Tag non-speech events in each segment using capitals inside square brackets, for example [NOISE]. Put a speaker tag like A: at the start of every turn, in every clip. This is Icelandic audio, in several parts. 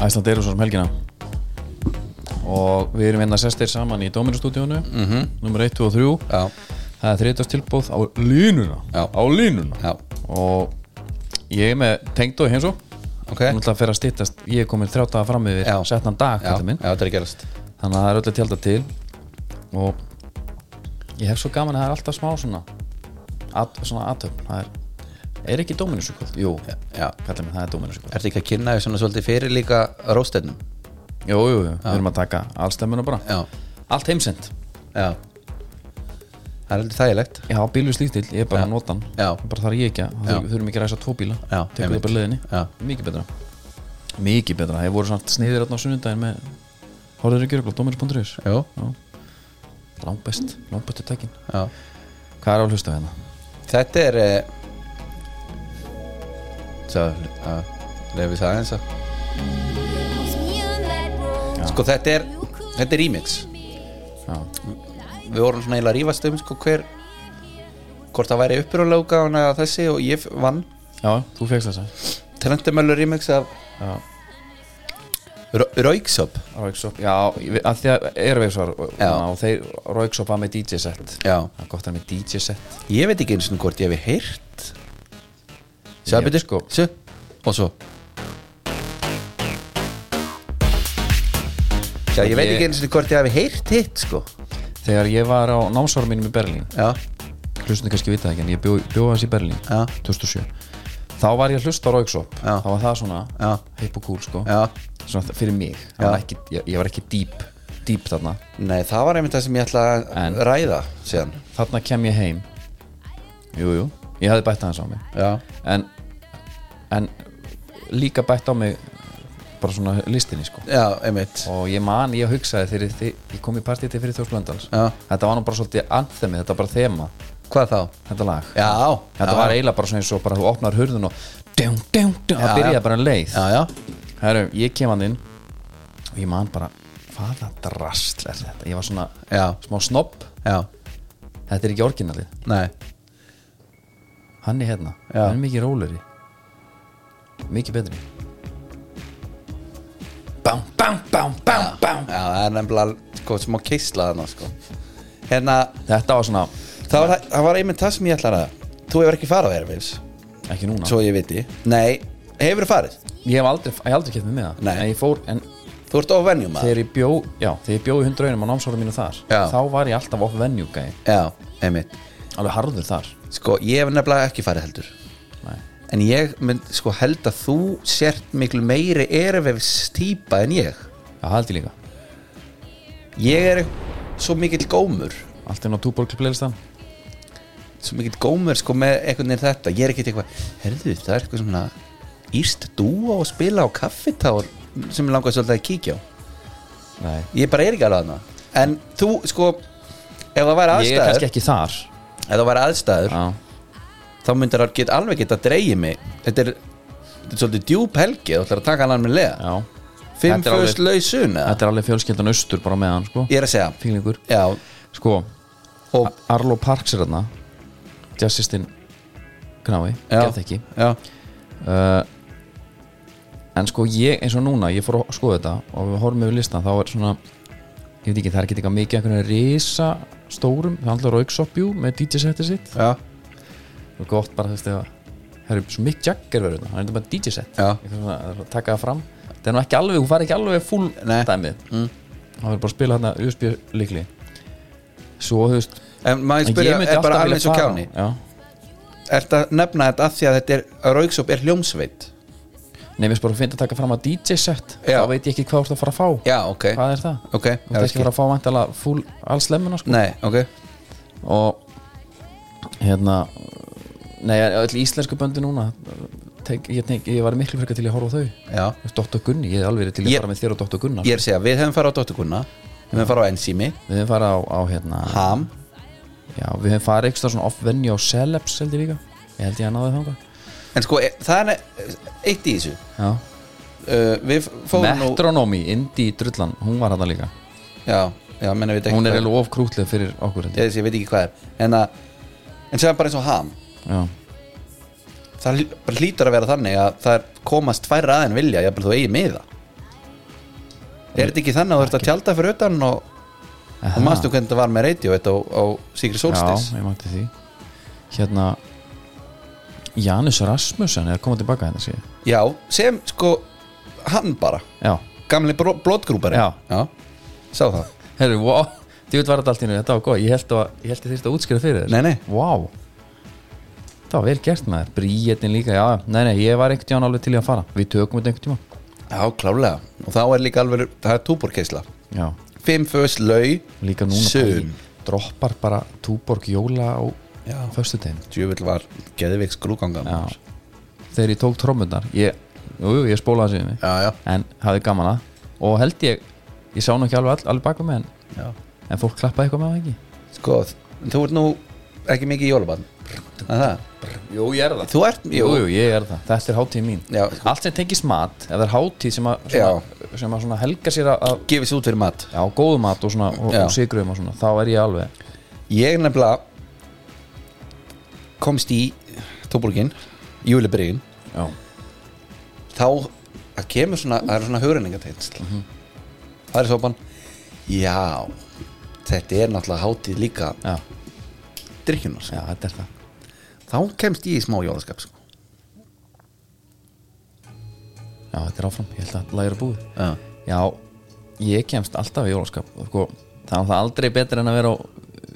A: Æsland Eyrúsar um helgina og við erum einna sestir saman í Dóminustúdíónu mm -hmm. nummer 1, 2 og 3
B: Já,
A: það er þriðdags tilbúð á línuna
B: Já.
A: á línuna
B: já,
A: og ég er með tengd og heimsó
B: ok
A: Nú ætla að fyrir að stýttast, ég er komin þrjátt daga fram yfir
B: Já.
A: setnan dag,
B: Já,
A: kallið minn
B: já, þetta er að gerast
A: þannig að það er öllu tjálta til og ég hef svo gaman að það er alltaf smá svona at, svona aðtöfn það er, er ekki Dóminusjúkvöld? Jú,
B: Já,
A: kallið minn, það er Dóminusjúkvöld
B: ertu ekki að kynna því svona svolítið fyrir líka róstefnum
A: Jú, jú, jú, við erum að taka allstemmuna bara
B: Já,
A: allt heimsend,
B: já Það er heldur þægilegt
A: ég hafa bílu slíktil ég er bara að nota hann,
B: Já.
A: bara þarf ég ekki að
B: Já.
A: þau- þurfum ekki að ræsa tvo bíla
B: Já,
A: tekur það
B: einmitt.
A: bara leiðinni,
B: Já.
A: mikið betra mikið betra, ég voru svona sniðir hérna á sunnundaginn með horfður ekki rögl á Dóminus.is
B: Jú,
A: langbest, langbestu tekin
B: já
A: hvað er á hlusta hérna?
B: Þetta er eh, Svo, að lefi það eins og Sko, þetta er, þetta er remix
A: Já.
B: Við vorum svona eiginlega að rífast um, sko, hver Hvort það væri upprunalega útgáfan eða þessi og ég vann
A: Já, þú fegst þessa
B: Trendemöllur remix af
A: Já,
B: Rauksöp
A: Rauksopp Já, ég veit- að því að Airwaves var
B: Já.
A: og þeir Rauksopp var með DJ set
B: Já
A: Það er gott að hann með DJ set
B: Ég veit ekki eins og hvort ég hef heyrt Sjá
A: Ég-
B: betur
A: sko.
B: Sjá Og svo Já, ég veit
A: Ég-
B: ekki eins og hvort ég hef heyrt hitt sko
A: Þegar ég var á námsvarum mínum í Berlín
B: Já,
A: Hlustinu kannski vita það ekki en ég bjó, bjóða hans í Berlín
B: Já.
A: 2007 Þá var ég að hlusta á Rauksopp
B: Já.
A: Þá var það svona
B: Já.
A: hip og cool sko
B: já
A: Svona fyrir mig Það
B: Já.
A: var ekki, ég, ég var ekki deep, deep þarna
B: Nei, það var einmitt það sem ég ætla að
A: En-
B: ræða síðan
A: Þarna kem ég heim Jú, jú, ég hafði bætt aðeins á mig
B: Já,
A: en, en líka bætt á mig bara svona listinni sko
B: já, einmitt
A: og ég man, ég hugsaði þegar þi- ég kom í partíti fyrir Þjórs Blöndals
B: Já.
A: þetta var nú bara svolítið anthemi, þetta var bara þema
B: Hvað þá?
A: þetta lag,
B: Já,
A: þetta
B: já,
A: var eiginlega bara svona eins og bara þú opnar hurðun og djum, djum, djum, það
B: Já, já.
A: byrjaði bara en leið
B: Já, já,
A: Heru, ég kem hann inn og ég man bara hvaða drastl er þetta, ég var svona
B: já,
A: smá snobb,
B: já
A: þetta er ekki orginalið
B: Nei,
A: hann er hérna,
B: Já.
A: hann er mikið róleri mikið betri bám, bám, bám, bám, bám
B: já, það er nefnilega sko, smá keisla þarna sko Hérna,
A: þetta var svona,
B: Það var, það var einmitt það sem ég ætlaði að Þú hefur ekki farið á Airwaves
A: ekki núna
B: Svo ég viti Nei, hefur farið
A: Ég hef aldrei, ég hef aldrei keft mig með það
B: Nei.
A: En ég fór, en
B: Þú ert ofvenjum maður
A: þegar ég bjó Já, þegar ég bjó í hundraunum á námsárum mínu þar
B: Já.
A: Þá var ég alltaf off venue gæi
B: Já, einmitt
A: Alveg harður þar
B: Sko, ég hef nefnilega ekki farið heldur
A: Nei.
B: En ég mynd sko held að þú sért miklu meiri Airwaves típa en ég
A: Það haldi ég líka
B: Ég er svo mikill gómur
A: Allt inn á túborg playlistan
B: Svo mikill gómur sko með einhvern veginn þetta Ég er ekkert eitthvað Herðu, það er eitthvað svona Íst dúa að spila á kaffitár Sem ég langar svolítið að kíkja á
A: Nei
B: Ég bara er ekki alveg hana En þú, sko Ef það væri
A: Ég er
B: aðstæður
A: kannski ekki Ah. þar
B: Ef það væri aðstæður
A: Já,
B: Þá myndir það get, alveg geta að dreigi mig Þetta er, þetta er svolítið djúp helgi Þú ætlar að taka hann alveg lega
A: já
B: Fimm
A: Þetta er alveg-
B: fyrst lausun eða?
A: Þetta er alveg fjölskyldan austur bara með hann, sko
B: Ég er að segja
A: Fílingur
B: Já,
A: Sko,
B: og
A: Arlo Parks er þarna Jazzistinn Knái,
B: já,
A: gerð ekki
B: Já,
A: uh, en sko ég eins og núna ég fór að skoða þetta og við horfum yfir listan þá er svona ég veit ekki það er ekki eitthvað mikið einhvern veginn risa stórum það handlar rauksoppjú með DJ setið sitt
B: já,
A: og gott bara þess að það er svo mikið jagger verið þarna, hann er þetta bara DJ set
B: Já.
A: Eitthvað svona, það er að taka það fram það er nú ekki alveg, hún fari ekki alveg full
B: Nei.
A: dæmið mm. hann verður bara að spila hérna USB líkli svo þú veist
B: En maður
A: en
B: spyrja,
A: myndi
B: er bara
A: alltaf vilja
B: alveg eins og
A: fara á-
B: kjáni
A: já.
B: Ertu að nefna þetta af því að þetta er að Rauksop er hljómsveit
A: Nei, mér finnst bara að finna að taka fram að DJ set
B: Já.
A: þá veit ég ekki hvað þú ert að fara að fá
B: Já, ok,
A: hvað er það?
B: ok
A: Þú ert ekki að fara að fá vantala fúl alls lemmuna sko
B: Nei, ok,
A: og hérna nei, öll íslensku böndi núna tek, ég, tek, ég var miklu frekar til að horfa á þau
B: já
A: Dóttur Gunni, ég er alveg til að
B: Ég-
A: fara með þér og Dóttur Gunnar
B: Ég er að segja, við hefum farið á Dóttukunna Við hefum farið á Enzími,
A: við hefum farið á, á hérna
B: Ham
A: já, við hefum farið eitthvað svona off-venue á Celebs held ég líka, ég held ég að náði þangað
B: En sko, e- það er eitt í þessu
A: já,
B: uh, Við fórum nú
A: Metronomi, Indi í Drullan hún var hérna líka,
B: Já, já, menn ég veit ekki
A: hún er
B: hvað-
A: alveg of krútleg fyrir okkur held ég
B: ég, ég veit ekki hvað er En, að, en sem bara eins og ham
A: já,
B: Það hl- bara hlýtur að vera þannig að það er komast færra að en vilja Jafnvel þú eigi miða Er þetta ekki þannig að þú ert að tjálta fyrir utan og, og manstu hvernig þetta var með radio þetta á, á Sigri Solstis
A: Já, ég mætti því Hérna Janus Rasmussen er komað tilbaka hérna sé ég.
B: já. sem sko hann bara,
A: Já,
B: gamli blótgrúpari
A: Já.
B: sá það
A: herru, wow Djúið var þetta allt í nú, þetta var góð Ég held að, ég held að þyrst að útskýra fyrir þér
B: Nei, nei.
A: Vá Það var vel gert maður Bríetin líka, já, já. nei, nei, ég var einhvern tíðan alveg til í að fara Við tökum þetta einhvern tíma
B: Já, klálega Og þá er líka alveg, það er túborkeisla
A: Já,
B: Fimm fös lau
A: líka núna
B: Sum.
A: pæli, Droppar bara túborg jóla á
B: Já.
A: Föstutegin
B: Djöfull var geðveik skrúganga
A: Já Þegar ég tók trómundar Ég, jú, jú, ég spólaði síðan mig
B: já, já,
A: En hafði gaman að Og held ég, ég sá nú ekki alveg all, alveg baka mig en,
B: já.
A: en fólk klappaði eitthvað með það ekki
B: Sko, þú ert nú ekki mikið í jólabann Það er það
A: Jú, ég er það
B: Þú ert,
A: Jú,
B: jú,
A: jú, ég er það, þetta er hátíð mín
B: Já.
A: Allt sem tengist mat, ef það er hátíð sem að, svona, sem að svona helga sér að, að
B: gefið sér út fyrir mat
A: Já, góðu mat og svona og,
B: Já.
A: og sigrum og svona, þá er ég alveg
B: Ég nefnilega komst í Tóbulgin, júlibrygin
A: Já,
B: þá það kemur svona, það er svona hugrenningateinsl það er sopan já, þetta er náttúrulega hátíð líka
A: já,
B: drikkjunar,
A: já, þetta er það
B: þá kemst ég í smá jólaskap sko.
A: Já, þetta er áfram, ég held að læra búið
B: já.
A: Já, ég kemst alltaf í jólaskap sko, Það er náttúrulega aldrei betra en að vera á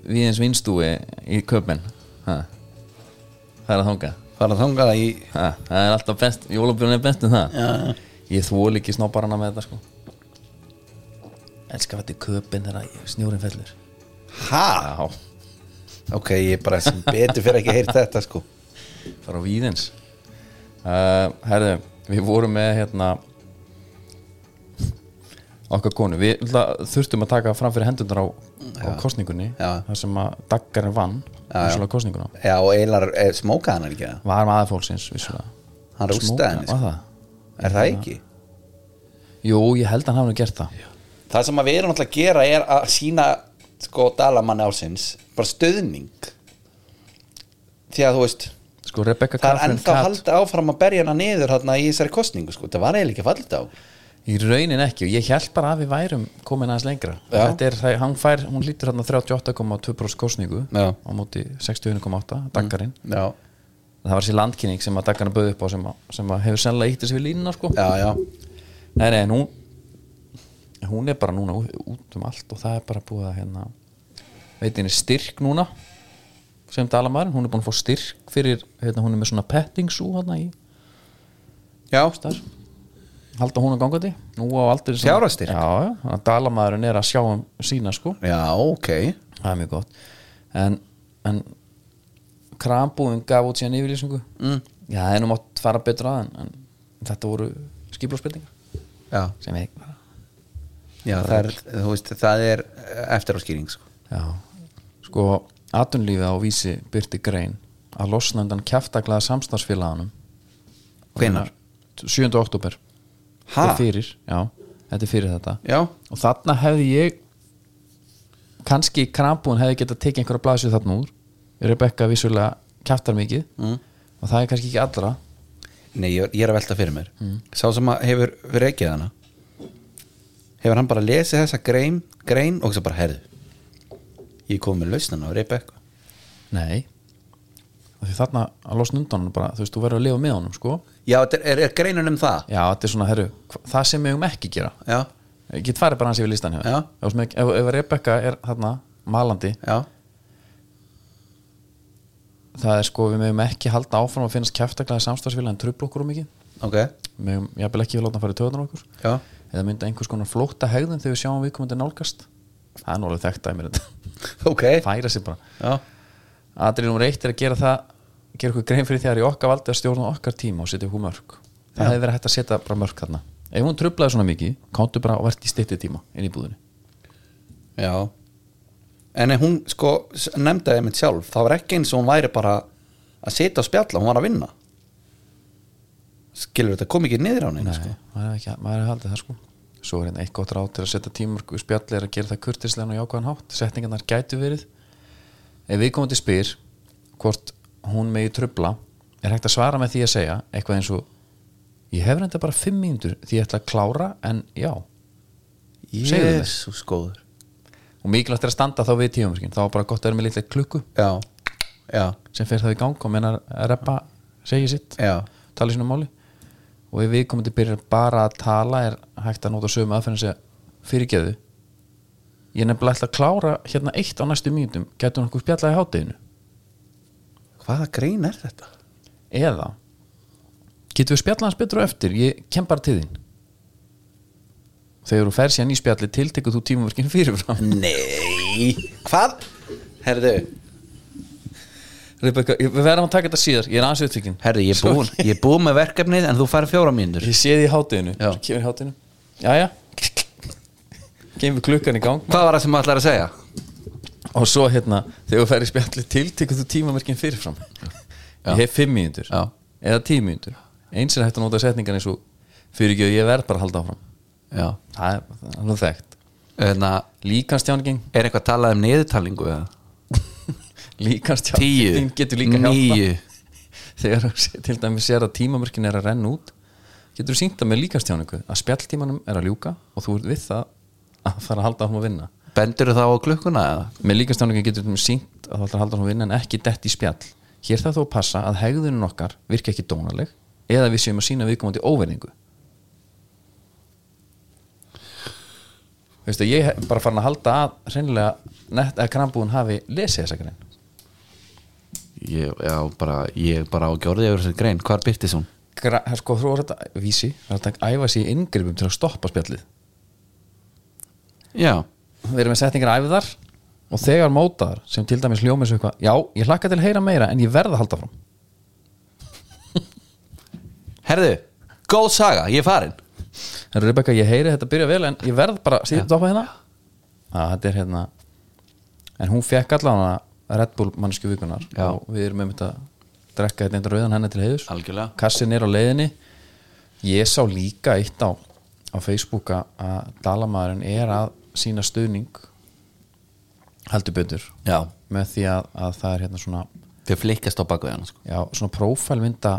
A: viðins vinstúi í köpinn Ha. Það er að þanga
B: fara þangað í
A: ha. Það er alltaf best, jólabjörn er best um það
B: já.
A: Ég þvól ekki snobbarana með þetta sko Elskar þetta í köpinn þegar að snjórinn fellur
B: ha,
A: Já,
B: ok, ég er bara sem betur fyrir ekki heyrt þetta sko
A: fara á víðins uh, Herðu, við vorum með hérna okkar konu, við náttúrulega þurftum að taka fram fyrir hendunar á, á kostningunni
B: Já.
A: þar sem að daggarinn vann vissulega kostninguna,
B: já, og eilar eh, smókaði hann ekki það?
A: var maður fólksins vissulega,
B: hann rústaði henni
A: var
B: sko.
A: það?
B: er það ekki?
A: Jú, ég held að hann hafði nú gert það
B: það sem að við erum náttúrulega að gera er að sína sko dalamann ásins bara stöðning því að þú veist
A: Sko Rebecca
B: það er
A: Catherine
B: ennþá
A: Cat
B: haldið áfram að berja hana niður hérna í þessari kostningu sko, það var eiginlega ekki fallið á
A: í raunin ekki og ég held bara að við værum komin aðeins lengra
B: Já.
A: Þetta er, það- hann fær, hún lítur hérna 38,2% kostningu
B: Já.
A: á móti 61,8 daggarinn
B: já,
A: það var þessi landkynning sem að daggarna bauð upp á sem, að, sem að hefur sennilega ítt þessi við línuna sko.
B: já, já,
A: nei, nei, en hún hún er bara núna ú- út um allt og það er bara búið að hérna veit henni styrk núna sem dalamæðurinn, hún er búin að fá styrk fyrir, hérna, hún er með svona pettingsú hérna í
B: já.
A: þar halda hún að ganga því, nú á aldur sem-
B: Fjárhagsstyrk?
A: já, já, þannig að dalamæðurinn er að sjá um sína sko
B: já ok
A: það er mjög gott en, en krambúðin gaf út síðan yfirlýsingu mm. já, það er nú mátt fara betur að en, en þetta voru skiplósbyrtingar
B: já,
A: sem ég bara
B: já það, er, þú veist, það er eftir áskýring sko.
A: já, sko atunlífið á vísi byrti grein að losna undan kjaftaklaða samstarfsfélaganum
B: hvenar?
A: 7. oktober
B: Ha?
A: þetta er fyrir, já, þetta er fyrir þetta
B: já,
A: og þarna hefði ég kannski krambúin hefði getað tekið einhverja blaðsjöð þarna úr Rebecca vissulega kjaftar mikið mm. og það er kannski ekki allra
B: Nei, ég, ég er að velta fyrir mér Sá sem að hefur reykið hana Hefur hann bara lesið þessa grein, grein og þess að bara herðu Ég kom með lausnana á Rebecca
A: nei og því þarna að losna undan honum bara, þú veist, þú verður að lifa með honum sko
B: Já, þetta er, er, er greinun um það
A: já, þetta er svona, herru, hva- það sem við um ekki gera
B: Já,
A: ég get farið bara hans yfir listan hjá
B: Já.
A: þér. Ef þú sem ekki- ef, ef Rebecca er þarna malandi,
B: já,
A: það er sko við meðum ekki halda áfram að finnast kjaftaklega samstagsfélag en trubla okkur um mikið,
B: ok Já,
A: við meðum jafnvel ekki láta hann fara í töðunar okkur eða mynda einhvers konar flótta hegðun þegar við sjáum viðkomandi nálgast það er nú alveg þekkt að mér
B: [LAUGHS]
A: þetta
B: [LAUGHS] ok
A: færa sér bara
B: Já,
A: aðrið nummer eitt er að gera það gera okkur grein fyrir því að það er í okkar valdi að stjórna okkar tíma og setja okkur mörg það hefði verið hægt að setja bara mörg þarna ef hún trublaði svona mikið, kántu bara og verðt í stytti tíma inn í búðinu
B: já En ef hún sko s- nefndi það mitt sjálf Það var ekki eins og hún væri bara að sitja og spjalla, hún var að vinna Skilur þetta kom ekki niður á henni sko.
A: Nei, maður hefði ekki- maður hefði haldið það sko svo er hérna eitt gott ráð til að setja tímörk við spjalli er að gera það kurtislegan og jákvæðan hátt setningarnar gætu verið ef við komum til spyr hvort hún megi trubla er hægt að svara með því að segja eitthvað eins og ég hef reynda bara fimm mínútur því ég ætla að klára en já Segðu mér.
B: Jésús góður
A: og mikilvægt er að standa þá við tíumverkin þá er bara gott að vera með litla klukku
B: Já, já,
A: sem fer það í gang og menna að reppa segja sitt,
B: já
A: tala í sínu máli og ef viðkomandi byrjar bara að tala er hægt að nota sömu aðferðin að segja fyrirgeðu ég er nefnilega ætla að klára hérna eitt á næstu mínútum getur nokkuð spjallað í hátteginu
B: Hvaða grein er þetta?
A: eða getur við spjallað hans betur á eftir ég kem bara til þín þegar þú fer síðan í spjalli tiltekur þú tímaverkin [LAUGHS] fyrirfram
B: Nei, hvað? Herðu,
A: Rebecca, ég- við verðum að taka þetta síðar ég er aðeins upptökin
B: herðu, ég er búinn Ég er búinn með verkefnið en þú fær fjóra mínútur
A: ég sé því í hátteginu
B: Já.
A: svo kemur í hátteginu jæja kemur klukkan í gang
B: Hvað var það sem maður ætlar að segja?
A: og svo hérna þegar þú fer í spjalli tiltekur þú tímaverkin fyrirfram
B: Já.
A: ég hef fimm mínútur
B: Já.
A: eða tíu mínútur eins er hægt að nota setningan eins og fyrirgjöð ég verð bara að halda áfram
B: Já,
A: það er, það er nú þekkt
B: hérna,
A: líkanstjáningin
B: er eitthvað talað um niðurtalingu eða? Tíu,
A: líkanstjáningin getur líka hjálpa
B: níu
A: þegar þú sé- til dæmis sér að tímamörkin er að renna út getur þú sýnt það með líkanstjáningu að spjalltímanum er að ljúka og þú ert við það að fara að halda áfram að vinna
B: Bendur þá á klukkuna eða?
A: með líkanstjáningin getur þú sýnt að þú ætlar að halda áfram að vinna en ekki dett í spjall hér þarf þú að passa að hegðunum okkar virka ekki dónaleg eða við séum að sína viðkomandi óverningu Veistu, ég er bara farin að halda að hreinlega nett að krambúðun hafi lesið þessa grein
B: Ég, já, bara, ég bara á gjörði yfir þessu grein Hvar byrtist hún?
A: Gra- sko, þú er þetta vísi þú er þetta að æfa sig í inngripum til að stoppa spjallið
B: Já,
A: við erum með setningar æfðar og þegar mótaðar sem til dæmis ljómið svo eitthvað já, ég hlakka til að heyra meira en ég verð að halda fram
B: herðu, góð saga, ég er farin
A: en Rebecca, ég heyri þetta byrja vel en ég verð bara síðan doppa hérna að þetta er hérna en hún fekk allavega Red Bull mannsku vikunar
B: Já.
A: og við erum með að drekka þetta einnig rauðan henni til heiðus
B: Algjörlega.
A: kassin er á leiðinni ég sá líka eitt á á Facebook að- að Dalamaðurinn er að sína stuðning heldur betur
B: Já,
A: með því að, að það er hérna svona
B: þau flikkast á bakvið hann sko.
A: já, svona prófælmynda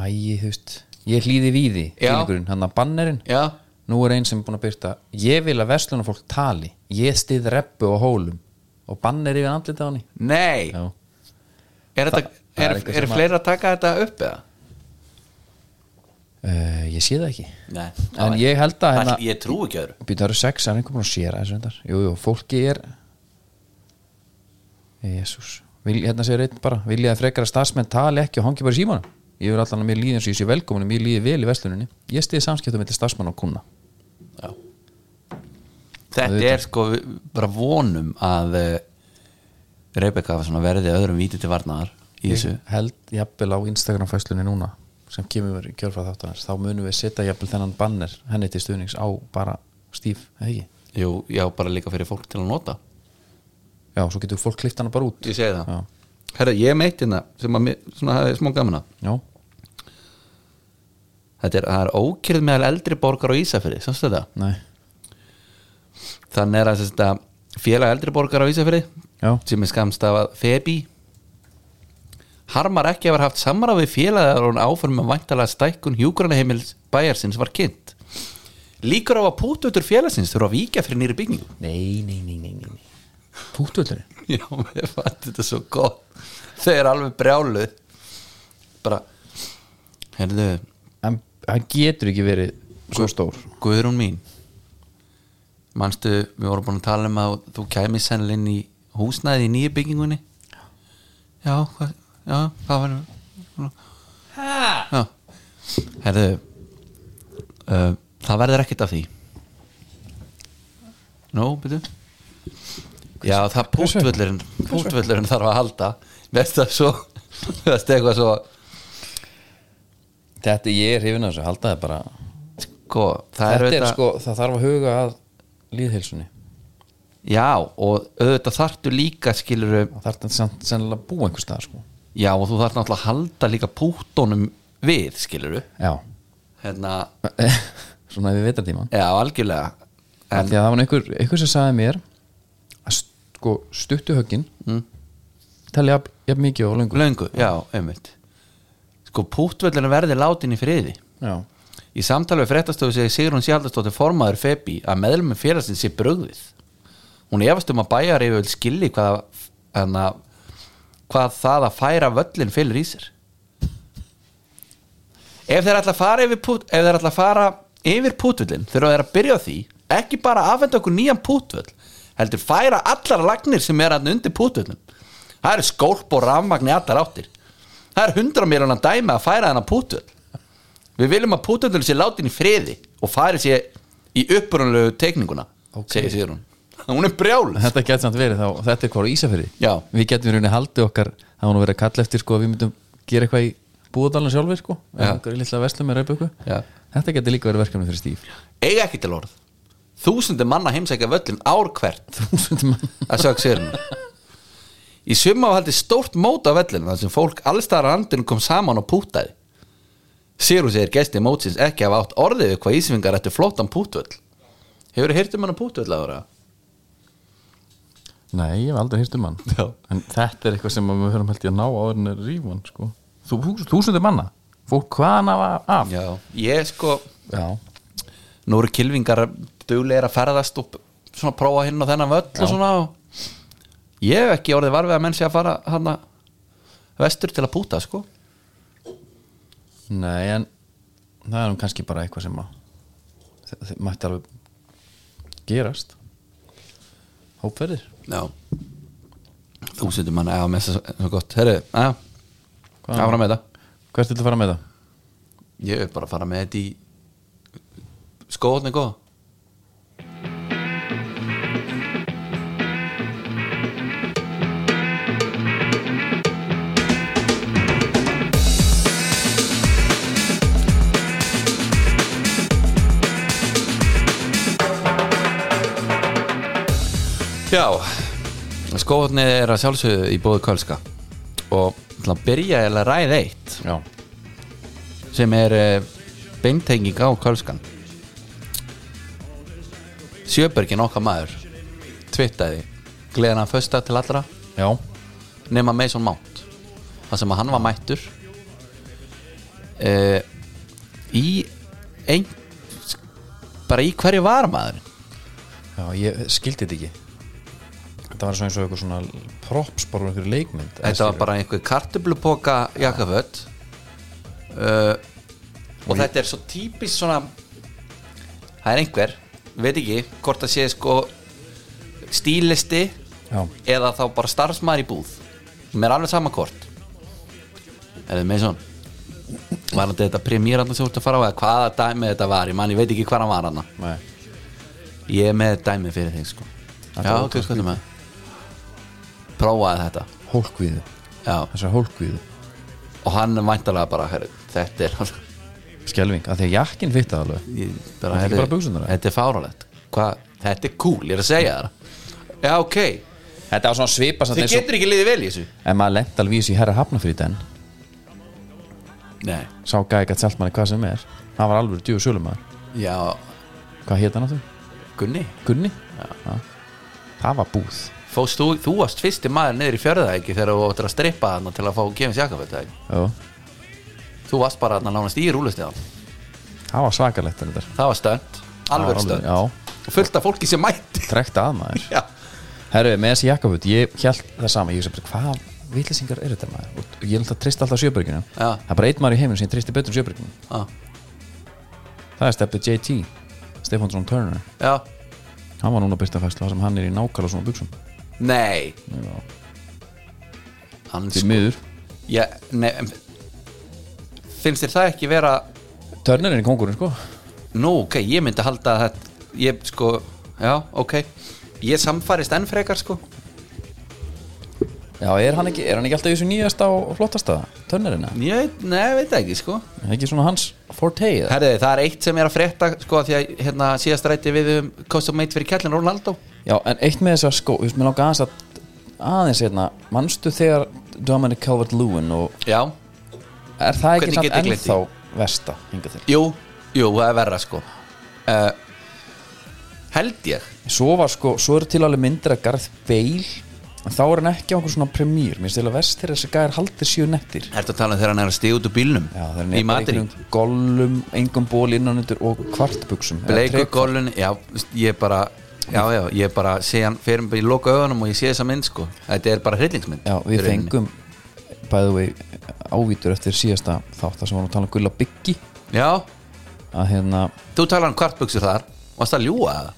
A: æ, þú veist ég hlýði víði,
B: Já.
A: fílingurinn, hann að bannerinn
B: Já,
A: nú er einn sem er búin að byrta ég vil að verslunarfólk tali ég stið reppu á hólum og banner yfir andlita á henni
B: nei
A: já,
B: Er, þetta,
A: það er
B: er,
A: eitthvað
B: er,
A: sem að-
B: fleiri að taka þetta upp eða?
A: uh, ég sé það ekki
B: Nei,
A: en ég held að hérna,
B: Ég trú ekki öðru
A: býta það eru sex, er einhver búin að séra þessu endar jú, jú, fólki er jésús hérna segir einn bara, vilja að frekara starfsmenn tali ekki og hangi bara í símanum ég verð allan að mér líði eins og ég sé velkominu, mér líði vel í versluninni ég stiði samskiptum með starfsmann og kuna
B: Þetta er sko við- bara vonum að eh, Rebecca svona verði öðrum víti til varnaðar í þessu
A: held jafnvel á Instagram fæslunni núna sem kemur í kjörfæð þáttanars þá munum við setja jafnvel þennan banner henni til stuðnings á bara stíf eða ekki,
B: Jú, já, bara líka fyrir fólk til að nota
A: já, svo getur fólk klift hana bara út
B: Ég segi það
A: Já.
B: Herra, ég meitt hérna sem að mér, svona hafi smá gaman að
A: já,
B: Þetta er, það er ókyrð meðal eldri borgar á Ísafyrði, sástu þetta?
A: nei,
B: Þannig er að þetta félag eldri borgar á Ísafyrði
A: já
B: sem er skamstafað Febi Harmar ekki að hafa haft samráð við félagar og áfram að væntalega um stækkun hjúgranaheimils bæjarsins var kynnt Líkur á að pútutur félagsins þurfa að víkja fyrir nýri byggingu
A: nei, nei, nei, nei, nei, nei. púttvöldurinn
B: [LAUGHS] Já, ég fann þetta svo gott Þau eru alveg brjálu Bara Herðu,
A: en hann getur ekki verið sko, svo stór
B: Guðrún mín Manstu, við vorum búin að tala um að þú kæmi sennilega inn í húsnæði í nýju byggingunni Já, hvað, já, hvað var Já Herðu uh, Það verður ekkert af því Nó, byrju Já, það pústvöllurinn Pústvöllurinn þarf að halda Veist það svo [LAUGHS] Veist eitthvað svo
A: þetta ég er hrifin að þessu, halda það bara
B: Sko, það
A: þetta er
B: auðvitað-
A: sko, það þarf að huga að líðhilsunni,
B: Já, og auðvitað þarftu líka skilur
A: það þarf þetta samt sennilega að búa einhver stað sko,
B: Já, og þú þarf náttúrulega að halda líka pútonum við, skilur
A: já [LAUGHS]
B: Hérna,
A: svona ef við veitar tíma
B: já, algjörlega
A: en,
B: En,
A: því að það var nú einhver, einhver sem sagði mér að st- sko, stuttu höggin mm. telja jafn, jafn mikið og lengur
B: löngu, já, einmitt Sko, pútvöllurinn verði látin í friði
A: já,
B: Í samtali við fréttastofu segir Sigrun Sjaldastóttir formaður Febi að meðlum félagsins sé brugðið. Hún efast um að bæjar yfir skilji hvað, hérna, hana, hvað það að færa völlin fylgir í sér. Ef þeir ætla að fara yfir, pút, ef þeir ætla að fara yfir pútvillin þurfa þeir að byrja á því ekki bara að afhenda okkur nýjan pútvill heldur færa allar lagnir sem er hann undir pútvillin. Það eru skólp og rafmagni allar áttir. Það er hundra mér hann að dæma að færa þennan pútvill. Við viljum að Pútundurinn sé látin í friði og farið sé í upprunalegu teikninguna,
A: Ok.
B: segir Sigrún Hún er brjál
A: þetta getur samt verið þá, þetta er hvað á Ísafyrði
B: Já.
A: við getum í rauninni haldið okkar það var nú verið að kalla eftir sko að við myndum gera eitthvað í búðalann sjálfur sko
B: Já.
A: einhverju litla verslum með ræpa
B: Já.
A: þetta getur líka verið verkefni fyrir
B: [LAUGHS]
A: Stíf
B: Eiga ekki til orð Þúsundir manna heimsækja völlin ár hvert að sög Sigrún Í summa var haldið stórt mót á vellinu þar sem fólk allstæðar andin kom saman og pútaði Sigrún segir gesti mótsins ekki hafa átt orðið við hvað ísvingar ættu flótan pútvöll Hefur þið heyrt um hann að pútvöll ára?
A: nei, ég hef aldrei hýrt um hann
B: Já.
A: en þetta er eitthvað sem að við höfum held ég að ná áður en að rífa hann sko Þú, þúsundir manna, fólk hvaðan af af
B: Já, ég sko
A: Já.
B: nú eru kylfingar duglegir að ferðast og svona prófa hinn og þennan völl og svona og ég hef ekki orðið varfið að menn sé að fara hann vestur til að púta sko
A: Nei, en það er nú kannski bara eitthvað sem að þe- þe- mætti alveg gerast Hópferðir
B: já þú setur mann að með þess að gott herru, að,
A: Hvað?
B: að fara með þetta
A: Hvert vil þú fara með það?
B: ég hef bara að fara með þetta í skóðni góð Já, skóðni er að sjálfsögðu í bóðu kölska og ég ætla að byrja eða ræð eitt
A: Já,
B: sem er eh, beintenging á Kölskan Sjöbergin okkar maður tvittaði gleðan að fösta til allra
A: já,
B: nema Mason Mount það sem að hann var mættur eh, í ein, bara í hverju var maður
A: já ég skildi þetta ekki Þetta var svo eins og eitthvað svona props bara einhverju leikmynd eða
B: þetta var
A: skilur.
B: bara einhver kartublupoka jakkaföld uh, og þetta er svo típist svona það er einhver, veit ekki hvort það sé sko stílisti
A: Já,
B: eða þá bara starfsmaður í búð sem er alveg sama hvort eða með svona var þetta þetta premýrann sem þú ert að fara á eða hvaða dæmi þetta var, ég man ég veit ekki hvað hann var hann
A: nei
B: ég er með dæmi fyrir þig sko
A: Þetta
B: já,
A: var
B: ok, skoðum við prófaði þetta
A: Hólkvíðu,
B: já
A: þessar hólkvíðu
B: og hann væntalega bara herri, þetta er
A: Skelving, að því að jakkin fitta það alveg
B: [LAUGHS] ég
A: Þetta er
B: bara,
A: ekki bara buxurnar, eða?
B: þetta er fáralegt Hva? þetta er cool, ég er að segja það já ok,
A: Þetta var svona svipa
B: þið getur ekki liðið vel í þessu
A: En maður lent alveg í þessu í herra hafnafrýt en
B: nei,
A: Sá gæði gætt seltmanni hvað sem er Það var alveg djú sölumæður
B: já,
A: Hvað hétt hann á þau?
B: Gunni
A: Gunni Já. Það var búð
B: fóst, þú, þú varst fyrsti maður niður í fjörða ekki þegar þú ættir að strippa þarna til að fá Kevins Jakobet ekki?
A: Já.
B: þú varst bara þarna nánast í rúlustíðan
A: Það var svakalegt þetta er.
B: það var stönd,
A: Það var
B: alveg stönd
A: Já,
B: og fullt af fólki sem mætti
A: trekt að maður
B: já,
A: Herru, með þessi jakkafut, ég held það sama Ég sem hvað vitlisingar eru þetta maður Og ég er alltaf trist alltaf sjöbyrginu
B: Já.
A: Það er bara einn maður í heiminn sem ég tristi betur en sjöbyrginu
B: já,
A: Það er steppið JT, Stefánsson Turner
B: já.
A: Hann var núna að byrta fæsla sem hann er í nákvæmlega svona buksum
B: nei
A: Já.
B: hann
A: Því miður
B: já, nei, em, finnst þér það ekki vera
A: Turner er í kongurinn sko
B: Nú, ok, ég myndi halda að þetta Ég, sko, já, ok Ég samfærist enn frekar, sko
A: Já, er hann ekki, er hann ekki alltaf í þessu nýjasta og flottasta Turnerina?
B: Ég veit, nei, veit það ekki, sko
A: Er Ekki svona hans forte eða?
B: Herriði, það er eitt sem er að frétta, sko Því að, hérna, síðast rætti við um Custom Made fyrir kjallin Ronaldo
A: Já, en eitt með þessar skó, þú veist, mér langar aðeins að aðeins hérna, manstu þegar Dominic Calvert-Lewin og
B: Já,
A: er það
B: Hvernig
A: ekki samt
B: get ég gleymt því?
A: ennþá versta hingað til?
B: jú, jú, það er verra, sko uh, Held ég
A: Svo var sko, svo eru til alveg myndir að Garth Bale en þá er hann ekki á einhver svona premýr mér stila vest þegar þessi gæðar haldir síu nettir
B: Ertu að tala um þegar hann er að stíða út úr bílnum
A: já, þegar hann
B: í matring
A: gollum, engum ból innanundur og kvartbuxum eða
B: Bleiku
A: trekk-
B: gólun, já, ég bara Já, já, ég bara sé hann fyrir mig í loka augunum og ég sé þessa mynd sko Þetta er bara hryllingsmynd
A: Já,
B: í
A: við
B: rauninni.
A: fengum bæðu við ávítur eftir síðasta þátt þar sem var að tala um Gulla Byggi
B: Já,
A: að hérna,
B: þú talar um kvartbuxur þar Varst að ljúga það?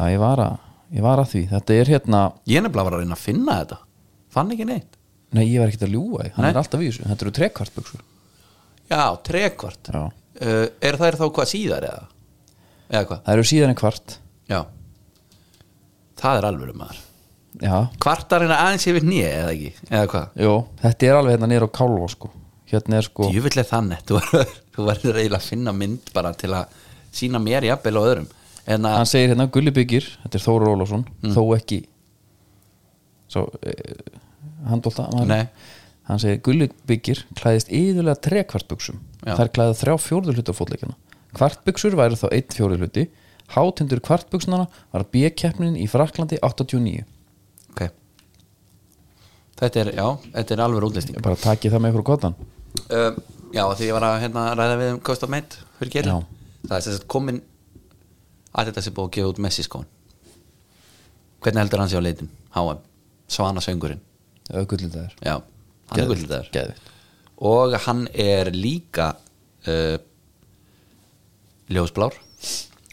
A: já ég var að ég var að því, þetta er hérna
B: Ég nefnilega var að reyna að finna þetta Fann ekki neitt
A: nei ég var ekkert að ljúga, því, hann
B: Nei.
A: er alltaf í þessu þetta eru trekkvartbuxur
B: Já, trekvart uh,
A: já.
B: Er þær þá hvað síðar eða? Eða hvað?
A: það eru síðan en kvart
B: Já Það er alveg maður
A: já,
B: Kvartarinn aðeins yfir nýja eða ekki? Eða hvað?
A: Jó, þetta er alveg hérna niður á kálva sko hérna er sko,
B: Djúvill er þannig, þú verður- þú verður eiginlega að finna mynd bara til að sína mér jafnvel og öðrum en að,
A: hann segir hérna Gulli Byggir, þetta er Þóra Ólafsson þó ekki svo, eh, handólta
B: Nei.
A: hann segir Gulli Byggir klæðist yðurlega trekvartbuxum
B: Já.
A: þær klæða þrjá fjórðu hluti á fótleikina kvartbuxur væri þá einn fjórðu hluti hátindur kvartbuxnana var B-keppnin í Fraklandi 89
B: ok þetta er, já, þetta er alveg útlisting
A: ég bara taki það með ykkur kvotan
B: um, já, því ég var að hérna, ræða við um Cost of Mate, fyrir gerir
A: Já.
B: það er sem sagt komin að þetta sem búið að gefa út Messi skón hvernig heldur hann sér á leitin? HM, Svana söngurinn
A: gullitaður
B: já, hann er guldar
A: Geðvikt.
B: og hann er líka uh, ljósblár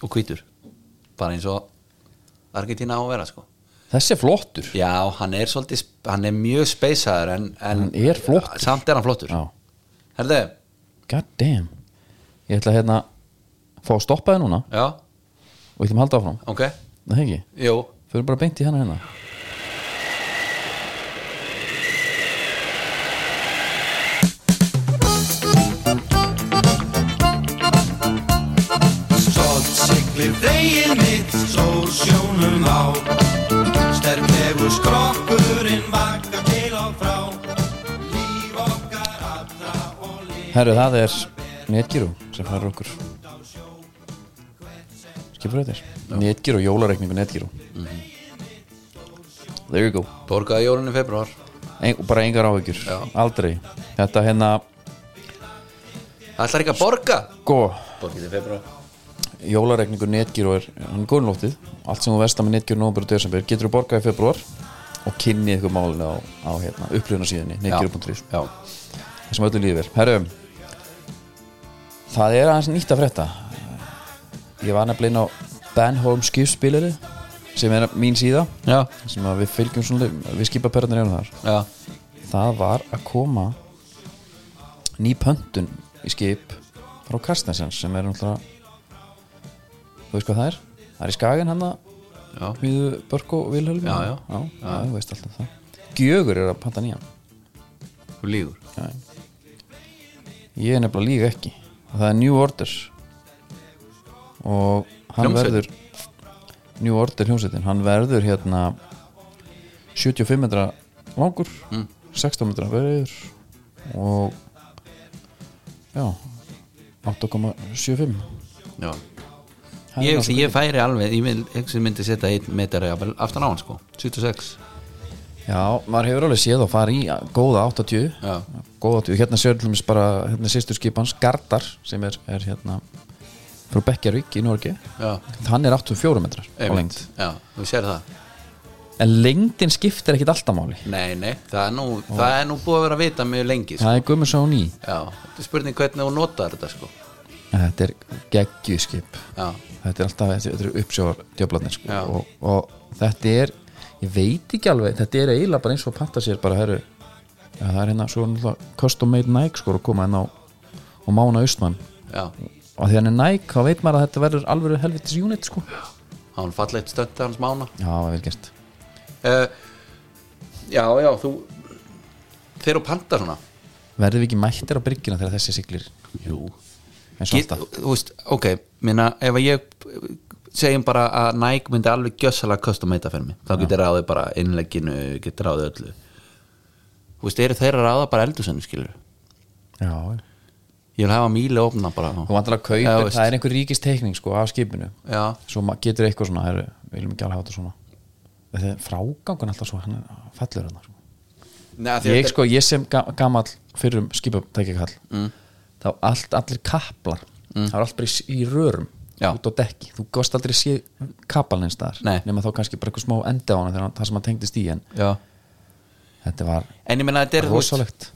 B: og hvítur bara eins og Argentina á að vera sko
A: þessi er flottur
B: já, hann er svolítið, sp- hann er mjög speysaður en, en
A: Hann er flottur.
B: samt er hann flottur
A: Já.
B: herðu,
A: God damn Ég ætla að hérna fá að stoppa þið núna
B: já,
A: og ég ætlum að halda áfram
B: ok
A: Það hegi,
B: jú,
A: fyrir bara beint í hana hérna
C: Stolt siglir veginn mitt, sól sjónum á Sterklegur skrokkurinn vakar til og frá Líf okkar allra og líf
A: Herru, það er Netgyro sem færir okkur Skipur þetta Netgyro, jólareikningu Netgyro There you go
B: borgaði jólunni februar
A: Eng, og Bara engar áhyggjur,
B: Já.
A: aldrei Þetta hérna,
B: það ætlar ekki að borga
A: go
B: borgið í februar
A: Jólareikningu Netgyro er, hann er góðnlóttið Allt sem þú vestar með Netgyro nómur og desember getur þú borgað í februar og kynnið ykkur málinu á, á hérna, upplifnarsíðinni netgyro.is
B: já,
A: Það sem öllu líður vel Herru Það er aðeins nýtt að frétta Ég var nefnilega inn á Benholm skipspilari sem er mín síða
B: já,
A: sem að við fylgjum svona við skipaperðanir hérna þar
B: já,
A: Það var að koma ný pöntun í skip frá Karstensens sem er náttúrulega þú veist hvað það er? Það er í Skagen hann að
B: já.
A: við Börk og Vilhelm
B: Já, já.
A: já, þú veist alltaf það Gjögur er að panta nýjan
B: þú lígur
A: Já. Ég er nefnilega líka ekki Það er New Order Og hann
B: Hljómsveit.
A: verður New Order hljómsveitin Hann verður hérna 75 metra langur
B: Mm.
A: 16 metra verður Og Já 8,75
B: já.
A: Það er
B: Ég,
A: náttúrulega-
B: ég færi alveg, ég myndi, ég myndi setja einn meter jafnvel aftan á hann sko 76
A: Já, maður hefur alveg séð að fara í góða 80
B: Já.
A: góða 80, hérna sérlumis bara hérna sýstur skipans, Gardar sem er, er hérna frá Bekkjarvík í Norge
B: Já,
A: hann er 84 metrar á lengd
B: einmitt Já, þú sér það
A: en lengdin skiptir ekkit alltaf máli
B: Nei, nei, það er nú, það er nú búið að vera að vita mjög lengi sko.
A: það er gummur sá ný
B: Já, þetta er spurning hvernig þú notar þetta sko
A: þetta er geggjuskip
B: Já,
A: þetta er alltaf, þetta er uppsjóðar djöflarnir sko.
B: Já.
A: og, og þetta er ég veit ekki alveg, þetta er eiginlega bara eins og panta sér bara, herru ja, það er hérna svo náttúrulega custom made Nike sko að koma hérna á og mána austmann
B: já,
A: og því hann er Nike, þá veit maður að þetta verður alvöru helvitis unit sko
B: hann falla eitt stönd hans mána
A: já, það er vel gert
B: uh, Já, já, þú Þeir eru panta svona
A: verðum við ekki mættir á bryggjuna þegar þessi siglir
B: Jú
A: eins og
B: Get,
A: alltaf
B: Þú veist, ok, minna ef að ég segjum bara að Nike myndi alveg gjössalega custom meita fyrir mig þá getur ráðið bara innlegginu, getur ráðið öllu Þú veist, eru þeir að ráða bara eldusennu skilur
A: já,
B: Ég vil hafa míli opna bara
A: þú vantar að kaupa,
B: Já,
A: það
B: veist.
A: er einhver ríkist teikning sko af skipinu
B: Já,
A: svo ma- getur eitthvað svona, herru, við viljum ekki alveg hafa þetta svona þetta er frágangun alltaf svo hann er fallur hann sko.
B: Nei, því
A: ég
B: þetta-
A: sko, ég sem ga gamall fyrrum skipatækjakall mm. þá allt, allir kaplar það er allt bara í, í rörum
B: Mm. Já.
A: út á dekki, þú gost aldrei sé kaplan eins þar,
B: Nei.
A: nema þá kannski bara eitthvað smá endi á hana þegar hann, það sem hann tengdist í en
B: sko- Já.
A: þetta var
B: En ég menna þetta er þú veist,
A: rosalegt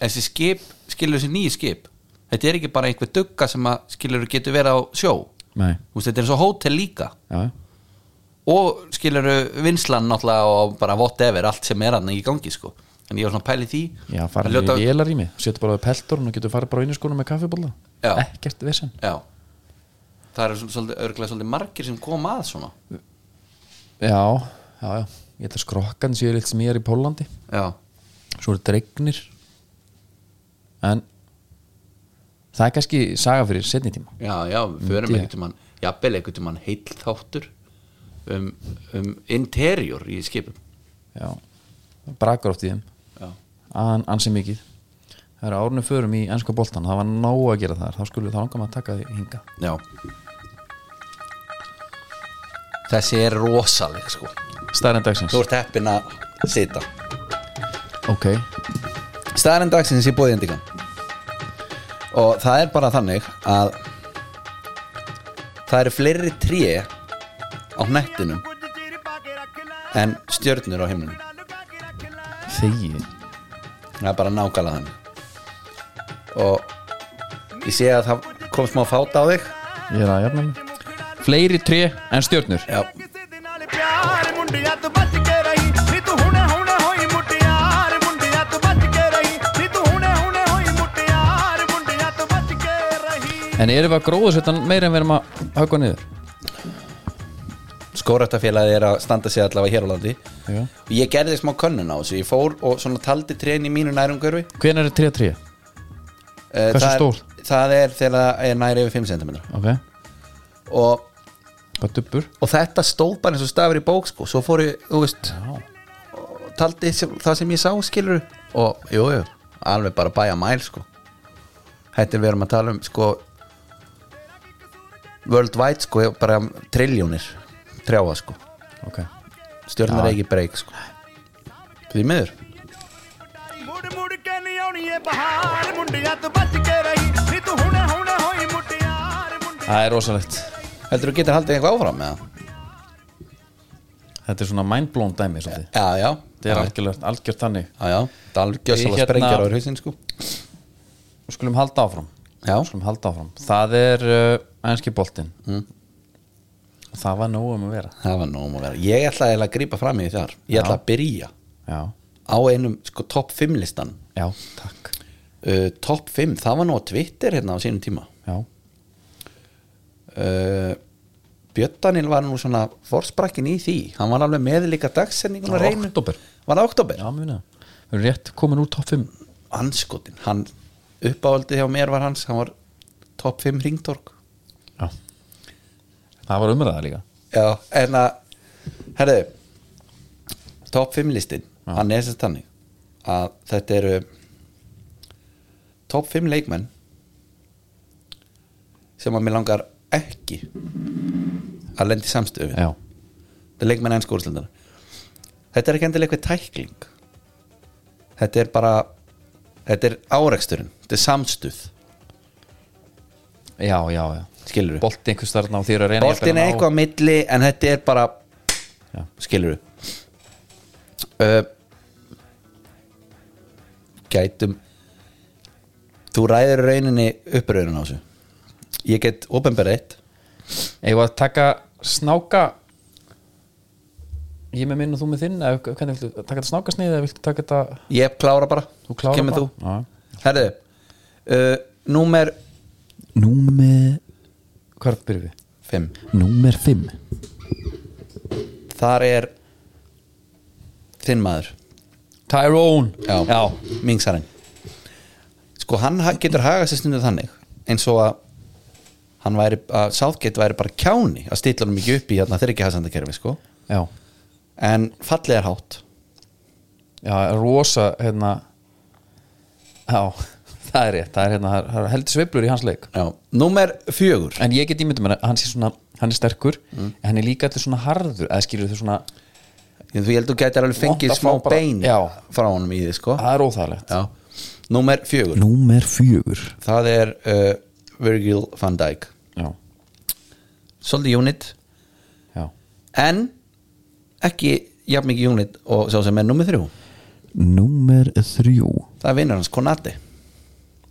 B: Þessi skip, skilur þessi nýju skip Þetta er ekki bara einhver dugga sem að skilur getur verið á sjó
A: Nei,
B: Þú veist, Þetta er svo hótel líka
A: já, já.
B: og skilur vinslan náttúrulega og bara whatever allt sem er hann í gangi sko en ég var svona að pæli því
A: já fara
B: Að
A: með
B: ljóta-
A: vélar í mig, setur bara við peltorn og getur farið bara á einu skóna með kaffibóla
B: Já.
A: ekkert vissin
B: Já. það eru svona svolítið, örgulega svolítið margir sem koma að svona
A: já, já, já, ég ætla að skrokkan séu litt smýjar í Pólandi
B: já,
A: svo eru dregnir en það er kannski saga fyrir setni tíma
B: já, já, við
A: Myndi
B: förum
A: ég.
B: einhvern tímann jafnvel einhvern tímann heill þáttur um, um interior í skipum
A: já, það brakar oft í þeim
B: já,
A: An, ansi mikið það eru árunum förum í ennska boltan það var nóg að gera þar, þá skulle þá langar maður að taka því hinga
B: já. þessi er rosaleg sko
A: stærðin dagsins
B: þú ert heppin að sita
A: ok,
B: staðarinn dagsins í bóði Indigan og það er bara þannig að það eru fleiri tré á hnettinum en stjörnur á himnunum
A: þegi
B: það er bara nákvæmlega þannig og ég sé að það kom smá fát á þig
A: ég er að jafna mig fleiri tré en stjörnur
B: já,
D: ਕਿਸੇ ਦੇ ਨਾਲ ਪਿਆਰ ਮੁੰਡਿਆ ਤੂੰ ਬਚ ਕੇ ਰਹੀ ਨੀ ਤੂੰ ਹੁਣੇ ਹੁਣੇ ਹੋਈ ਮੁਟਿਆਰ ਮੁੰਡਿਆ ਤੂੰ ਬਚ ਕੇ ਰਹੀ ਨੀ ਤੂੰ ਹੁਣੇ ਹੁਣੇ ਹੋਈ ਮੁਟਿਆਰ ਮੁੰਡਿਆ ਤੂੰ ਬਚ ਕੇ ਰਹੀ
A: en erum við að gróða setjan meira en við erum að höggva niður
B: skórættafélagi er að standa sig allavega hér á landi
A: Já.
B: og ég gerði smá könnun á þessu ég fór og svona taldi trén í mínu nærumgörfi
A: hvenær er tré tré?
B: Eh,
A: Hversu
B: það er-
A: stór?
B: það er þegar það er næri yfir 5 cm
A: ok,
B: og
A: bara dubbur
B: og þetta stóð bara eins og stafur í bók sko. svo fór ég, þú veist og taldi sem, það sem ég sá skilur og jú, jú, alveg bara bæja mæl sko. þetta er við erum að tala um sko worldwide sko, bara triljónir trjáa sko,
A: ok,
B: stjórnar ekki breyk sko því miður
D: ਮੁੜ ਮੁੜ ਕੇ ਨਹੀਂ ਆਉਣੀ ਏ ਬਹਾਰ ਮੁੰਡਿਆ ਤੂੰ ਬਚ ਕੇ ਰਹੀ ਨੀ ਤੂੰ ਹੁਣੇ ਹੁਣੇ ਹੋਈ ਮੁਟਿਆਰ ਮੁੰਡਿਆ
A: það er rosalegt
B: heldur þú getur haldið eitthvað áfram með það?
A: þetta er svona mindblown dæmi svolítið.
B: já, já,
A: þetta er algjörlega algjört þannig
B: já, já, það er alveg
A: Ég,
B: gjössalega
A: hérna-
B: sprengjar á hausinn sko
A: Við skulum halda áfram
B: Já.
A: Við skulum halda áfram Það er uh, ænski boltinn mm. Og það var nóg um að vera
B: það var nóg um að vera, ég ætla eiginlega að grípa fram í þar ég ætla að byrja
A: Já,
B: á einum sko topp 5 listan
A: já, takk
B: uh, topp 5, það var nú á Twitter hérna á sínum tíma
A: Já,
B: uh, Björn Daniel var nú svona forsprakkin í því, hann var alveg með líka dagsendingun
A: Það
B: að
A: var
B: reynu
A: október.
B: var það oktober,
A: já, muna Við erum rétt komin úr topp 5
B: anskotin hann uppáhaldið hjá mér var hans hann var topp 5 ringtork
A: Já Það var umræða líka
B: já, en að herðu, topp 5 listin hann er þess að þannig að þetta eru topp 5 leikmenn sem að mér langar ekki að lendi samstöðu við
A: Já,
B: þetta er leikmenn ennsku úrslendana þetta er ekki endilega eitthvað tækling þetta er bara þetta er áreksturinn, þetta er samstuð
A: já, já, já
B: skilur við,
A: Bolti einhvers þarna og því eru að reyna
B: boltin er
A: jafnvel að
B: eitthvað á milli en þetta er bara
A: Já.
B: skilur við uh, gætum þú ræður í rauninni uppröðun á þessu ég get openberið
A: ná- Eigum við að taka snáka Ég með minn og þú með þinn eða Hvernig viltu, taka þetta snáka eða viltu taka þetta
B: ég klára bara,
A: Þú klára
B: kemur
A: bara.
B: þú herðu, uh, númer
A: Já Númer Hvað byrjum við?
B: 5
A: Númer 5
B: þar er þinn maður
A: Tyrone
B: já, Mingsarinn sko hann ha- getur hagað sér stundu þannig eins og að hann væri, að Southgate væri bara kjáni að stilla hann mikið upp í hérna þeir ekki hafsandakerfi sko
A: Já,
B: en fallið er hátt
A: já rosa hérna Já, [LAUGHS] það er rétt Það er hérna, það er- það er heldur sveiflur í hans leik
B: já, númer fjögur
A: Mm. En ég get ímyndum að hann sé svona Hann er sterkur, en hann er líka allir svona harður Eða skilur þau svona
B: Ég- Þú ég held þú gætir alveg fengið
A: Vont að
B: smá
A: fá bara-
B: bein
A: Já.
B: frá honum í þið sko
A: það er óþægilegt
B: Já. Númer fjögur
A: Númer fjögur
B: Það er uh, Virgil van Dijk
A: Já,
B: Svolítið unit
A: já
B: En ekki jafn mikið unit og sá sem er númer þrjú
A: Númer þrjú
B: Það er vinnar hans Konati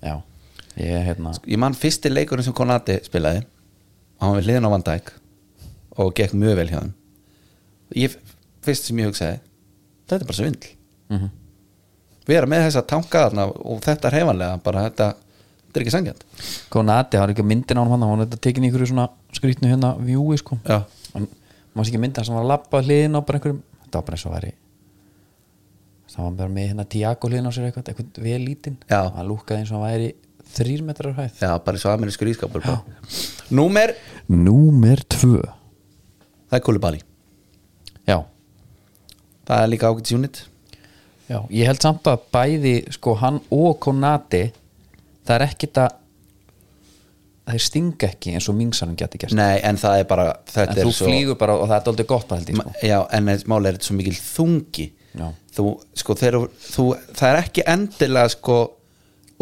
A: Já, ég er hérna
B: Ég man fyrsti leikurinn sem Konati spilaði og hann við hliðin á Van Dijk og gekk mjög vel hjá hann Ég fyrst sem ég hugsaði þetta er bara svindl
A: mm
B: vera með þessa tanka þarna og þetta reyfanlega bara þetta, þetta er ekki sangjant
A: Konati, það er ekki myndin á hann hann var þetta tekin í ykkur svona skrýtnu hérna vjúi sko
B: Já.
A: Hann- maður sé ekki myndin sem var að labba hliðin á bara einhverjum þetta var bara eins og væri það var bara með hérna Tiago hliðin á sér eitthvað eitthvað vel lítinn
B: Já.
A: hann lúkkaði eins og hann væri þrýr metrar á hæð
B: Já, bara svo amerískur ískapur bara. Númer,
A: Númer tvö
B: það er Kulubali
A: Já,
B: Það er líka ágætis unit
A: já, ég held samt að bæði sko hann og Konati það er ekkit að þeir stinga ekki eins og mingsanum geti gert
B: Nei, en það er bara
A: en
B: þetta
A: þú
B: er svo,
A: flýgur bara og það er aldrei gott að held ég sko.
B: Ma- Já, en eins máli er þetta svo mikil þungi
A: Já.
B: Þú, sko, þeir, þú, það er ekki endilega sko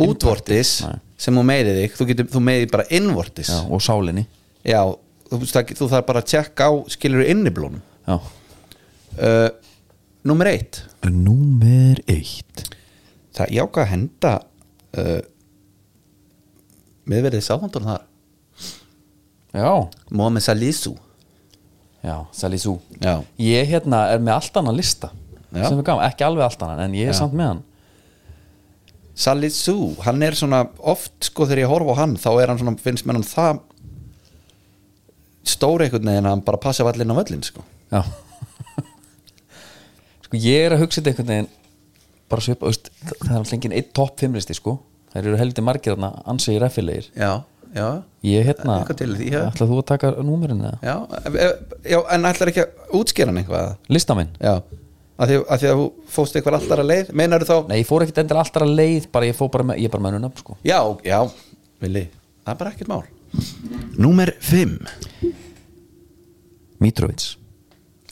B: útvortis
A: Nei.
B: sem þú meiðir þig þú, getur, þú meiðir bara innvortis
A: já, og sálinni
B: Já, þú, veist, það- þú þarf bara að tjekka á skilur inniblónum
A: já.
B: uh, Númer eitt
A: Númer eitt
B: það ég ákvað að henda uh, miðverðið sáðandun þar
A: Já,
B: Mohamed Salisu
A: já, Salisú
B: Já.
A: Ég hérna er með allt annan lista
B: Já.
A: sem er gaman, ekki alveg allt annan en ég er
B: Já.
A: samt með hann
B: Salisu, hann er svona oft sko þegar ég horfa á hann þá er hann svona, finnst mér hann það stóri einhvern veginn að hann bara passa vallinn á völlinn sko
A: Já [LAUGHS] Sko ég er að hugsa þetta einhvern veginn bara svipa, veist, það það er alltaf enginn einn topp fimmlisti sko, þær eru heldur margir þarna ansið raffilegir
B: Já, já,
A: Ég hérna,
B: Eitthvað til því, já.
A: ætla þú að taka númerinu eða?
B: já, e- já en ætlar ekki að útskýra hann eitthvað
A: Listaminn?
B: Já, að því að, því að þú fóst eitthvað alltaf að leið, meinar þú þá
A: Nei, ég fór ekkert endur alltaf að leið bara ég fór bara með, ég er bara með nöfn sko
B: Já, já, villi, það er bara ekkert mál Númer 5
A: Mitrovic,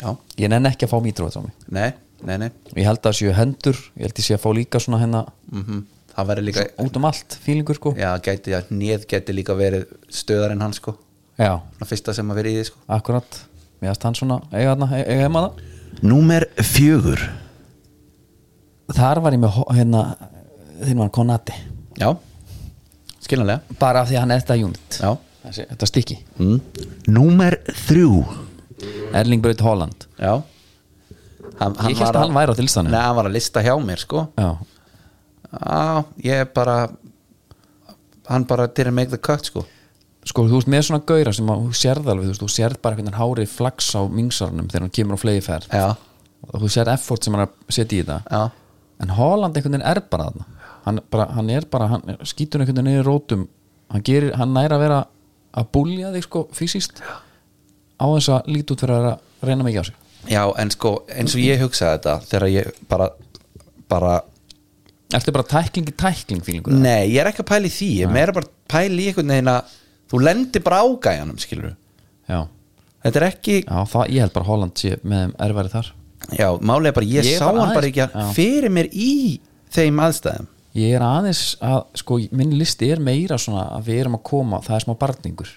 B: Já,
A: ég nenn ekki að fá Mitrovic á mig
B: nei, nei, nei
A: Ég held að það séu hendur, ég held ég sé að fá líka svona hérna
B: -hmm. það verður líka
A: út um allt fílingur sko
B: já, gæti, já, neð gæti líka verið stöðar en hann sko
A: Já,
B: Svona fyrsta sem að verið í því sko
A: akkurat Mér finnst hann svona, eiga hann, eiga heima það
B: Númer fjögur
A: Þar var ég með ho- hérna þinn var Konati
B: já, skiljanlega
A: bara af því að hann er þetta unit
B: já.
A: Þessi, þetta stikki
B: Mm. númer þrjú
A: Erling Braut Holland
B: já hann,
A: Ég hélt að hann væri á tilstæðinu.
B: nei, hann var að lista hjá mér sko
A: Já,
B: já, ég bara hann bara didn't make the cut sko
A: sko þú veist með svona gauðra sem að þú sérð alveg, þú veist, þú sérð bara hvernig hann hárið flags á mingsarunum þegar hann kemur á flegi fær
B: já,
A: og þú sérð effort sem hann er að setja í þetta
B: já,
A: en Holland einhvern veginn er bara þarna hann, bara, hann er bara, hann er- skýtur einhvern veginn niður í rótum, hann, gerir, hann næra að vera að búlja þig sko fysiskt á þess að líti út fyrir að vera að reyna mikið á sig
B: já, en sko eins og ég hugsaði þetta þegar ég bara bara
A: Ertu bara tækling í tækling fílingur?
B: Nei, ég er ekki að pæla í því Ég er meira bara að pæla í einhvern veginn að Þú lendir bara á gæjanum, skilur
A: Já,
B: Þetta er ekki,
A: já það, ég held bara Holland sé með þeim erfæri þar
B: já, málega bara Ég,
A: Ég
B: sá
A: var
B: hann bara
A: aðeins-
B: ekki að
A: já.
B: fyrir mér í þeim aðstæðum
A: Ég er aðeins að, sko, minn listi er meira svona að við erum að koma, það er smá barningur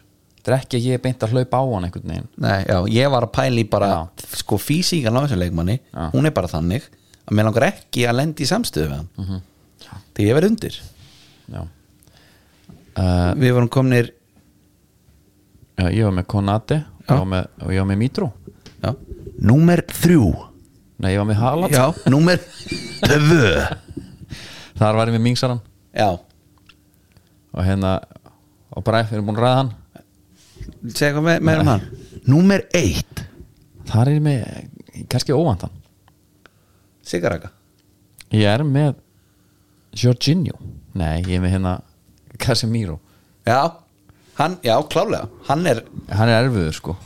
A: Það er ekki að ég er beint að hlaupa á hann einhvern veginn
B: Nei, já, ég var að pæla í bara Sko, físíkan á þessum leikmanni
A: Já.
B: Hún er bara þannig að mér langar ekki að lendi í samstöðu við hann
A: Mhm.
B: Þegar ég verð undir
A: Já, uh,
B: Við vorum komnir,
A: já ég var með Konate og
B: Já.
A: ég var með, og ég var með Mitro
B: já Númer þrjú
A: Nei, ég var með Haaland
B: Já, númer tvö
A: Þar var ég með Mingsaran
B: Já,
A: og hérna, og bara við erum búin að ræða hann
B: segja eitthvað með, með um hann Númer eitt
A: Þar er ég með, kannski óvandan
B: Sigaraka
A: Ég er með Jorginho Nei, ég er með hérna Casemiro
B: Já, hann, já, klálega Hann er,
A: Hann er erfiður sko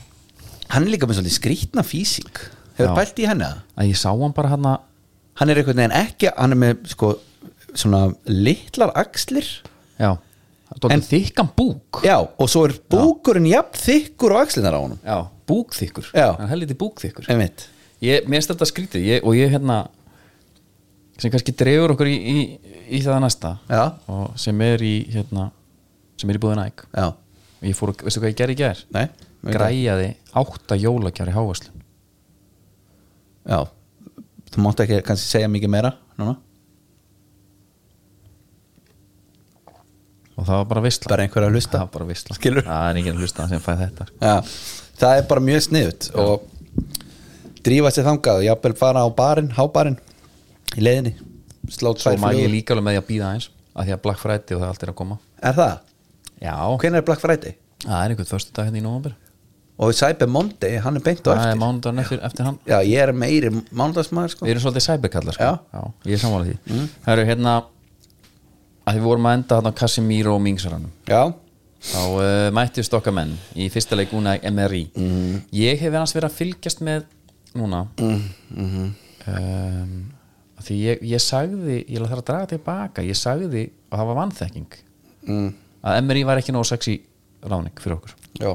B: hann er líka með svolítið skrýtna físík Hefur
A: Já.
B: pælt í henni það?
A: að ég sá hann bara hérna, hann
B: Hann er einhvern veginn ekki, hann er með sko svona litlar axlir
A: já, en,
B: En-
A: þykkan búk
B: Já, og svo er búkurinn jafn þykkur og axlinar á honum
A: já, búkþykkur
B: Já.
A: hann heldur búkþykkur
B: Einmitt
A: ég, mér finnst þetta skrítið ég, og ég hérna sem kannski dregur okkur í, í, í það næsta
B: Já.
A: og sem er í hérna, sem er í búðin æg
B: já,
A: og ég fór, að- veistu hvað ég gerði í gær?
B: nei veit það.
A: græjaði átta jólakjár í hávaslun
B: Já, þú mátt ekki kannski segja mikið meira núna
A: og það var bara visla
B: Bara einhver að hlusta.
A: það var bara visla
B: Skilurðu?
A: það er enginn að hlusta sem fæ þetta
B: Já, það er bara mjög sniðut og drífa sér þangað jafnvel fara á barinn, hábarinn í leiðinni, slá
A: svo
B: tvær
A: mæl ég
B: flugur.
A: líka alveg með því að býða eins af því að Black Friday og það allt er að koma
B: Er það?
A: já,
B: Hvenær er Black Friday?
A: það er einhvern förstu dag hérna í november
B: Og Cyber Monday, hann er beint á
A: það er
B: eftir
A: mánudagur eftir, eftir hann
B: Já, ég er meiri mánudagsmaður sko
A: við erum svolítið cyberkallar sko.
B: Já. Mm.
A: ég er sammála því það eru hérna að við vorum að enda hann á Casimiro og Mingsaranum
B: Já,
A: þá uh, mættist okkar menn í fyrsta leikuna MRI mm. ég hef verið verið að fylgjast með núna mm.
B: mhm,
A: Mm því ég, ég sagði ég þarf að draga tilbaka, ég sagði og það var vannþekking mm. að MRI var ekki nóg sexy ráning fyrir okkur
B: já,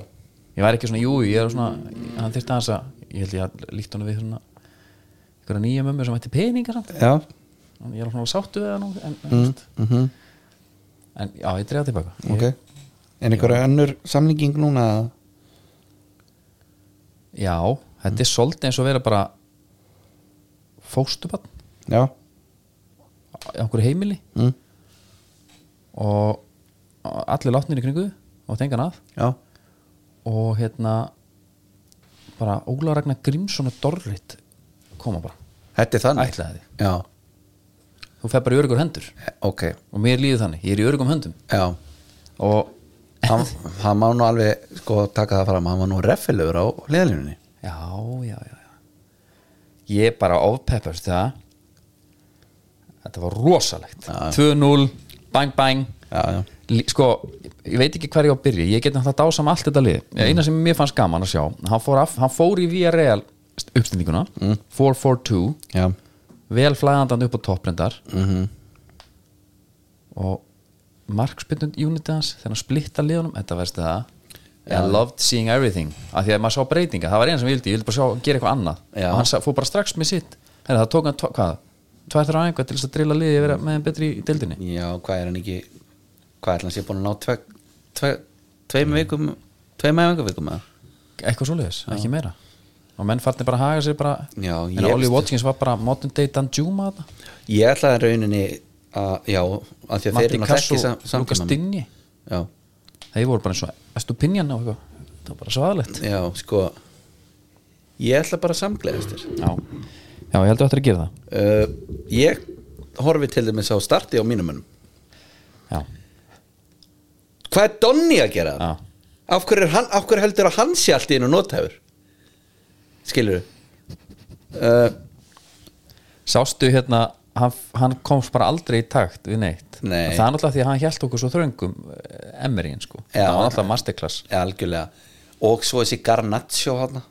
A: ég var ekki svona, jú, ég er svona hann þyrfti aðeins að, ég held ég að líkt honum við svona einhverja nýja mömmu sem ætti peninga samt
B: já
A: ég er svona sáttu við það nú en, mm.
B: mhm,
A: en já, ég drefa tilbaka ég,
B: Ok En einhverja önnur samlíking núna
A: Já, þetta
B: Mm.
A: er svolítið eins og vera bara fóstubann
B: Já,
A: á einhverju heimili
B: mm.
A: og og allir látnir í kringu og tengan að
B: já,
A: og hérna bara Óla Ragnar Grímsson og Dorrit koma bara,
B: þetta er þannig
A: ætlaði því
B: Já,
A: þú fer bara í örugur hendur
B: ok,
A: og mér líður þannig, ég er í örugum höndum
B: [LAUGHS] já
A: og
B: hann, hann má nú alveg sko taka það fram, hann var nú reffilegur á leðalínunni
A: já, já, já, já ég bara ofpeppast það þetta var rosalegt
B: Já, já.
A: 2-0, bang bang
B: já, já,
A: Lí- sko, ég veit ekki hver ég á að byrja ég get náttúrulega dásam allt þetta lið eina sem mér fannst gaman að sjá hann fór, af, hann fór í VRL uppstendinguna 4-4-2
B: já,
A: vel flæðandan upp á topprendar
B: Mhm.
A: og markspyndund unitans þegar hann splitta liðunum, þetta verðst það I loved seeing everything af því að maður sá breytinga, það var eina sem ég vildi ég vildi bara sjá að gera eitthvað annað
B: Já.
A: og hann sa- fór bara strax með sitt Heru, það tók hann, tvo- hvað, tvær þrjá einhvað til þess að drilla liði yfir að- með þeim betri í deildinni
B: já, hvað er hann ekki hvað er hann sé búin að ná tve, tve, tveim vikum tveim aðeins vikum eða?
A: eitthvað svoleiðis, ekki meira og menn farnir bara að haga sér bara
B: Já,
A: en
B: ég
A: Ollie
B: veist-
A: Watkins var bara modern day Dan Juma þarna.
B: ég ætlaði rauninni að, já, að því að þeir
A: Matti
B: eru náttúrulega
A: Kassu,
B: ekki sam,
A: Lukas
B: samkvæmum
A: Dinni
B: já,
A: þeir voru bara eins og estu pinjan og eitthvað það var bara svaðalegt
B: já, sko ég ætla bara að samgleðast þér
A: já. já, ég heldur eftir að gera
B: uh, ég horfi til dæmis á starti á mínum önum
A: það já,
B: hvað er Donny að gera það?
A: Já.
B: af hverju, er hann, af hverju heldur að hann sé allt í einu nothæfur skilur uh,
A: sástu hérna hann, hann komst bara aldrei í takt við neitt
B: Nei.
A: það er náttúrulega því að hann hjælt okkur svo þröngum emmerín sko,
B: Já.
A: það var náttúrulega masterclass
B: algjörlega og svo þessi Garnaccio hann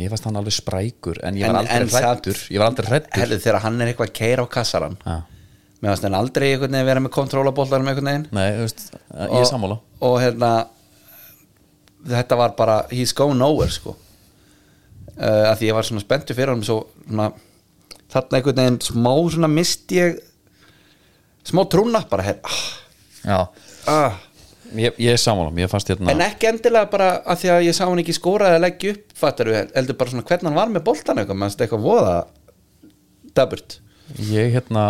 A: ég fannst hann alveg sprækur en ég
B: En-
A: var aldrei
B: en samt-
A: hrættur ég var aldrei hrættur
B: herðu þegar hann er eitthvað að keira á kassaran mér varst hann aldrei einhvern veginn vera með kontrólabollar með einhvern veginn
A: nei, þú veist, eh, ég er sammála
B: og hérna þetta var bara he's going nowhere sko uh, að því ég var svona spenntu fyrir hann svo, svona, þarna einhvern veginn smá svona misti ég smá trúna bara her,
A: já
B: ah, ah.
A: Ég, ég er sammála, mér fannst hérna
B: en ekki endilega bara að því að ég sá hann ekki skóraði að leggja upp fattar við, heldur bara svona hvernig hann var með boltan eitthvað, mannst eitthvað voða daburt
A: Ég hérna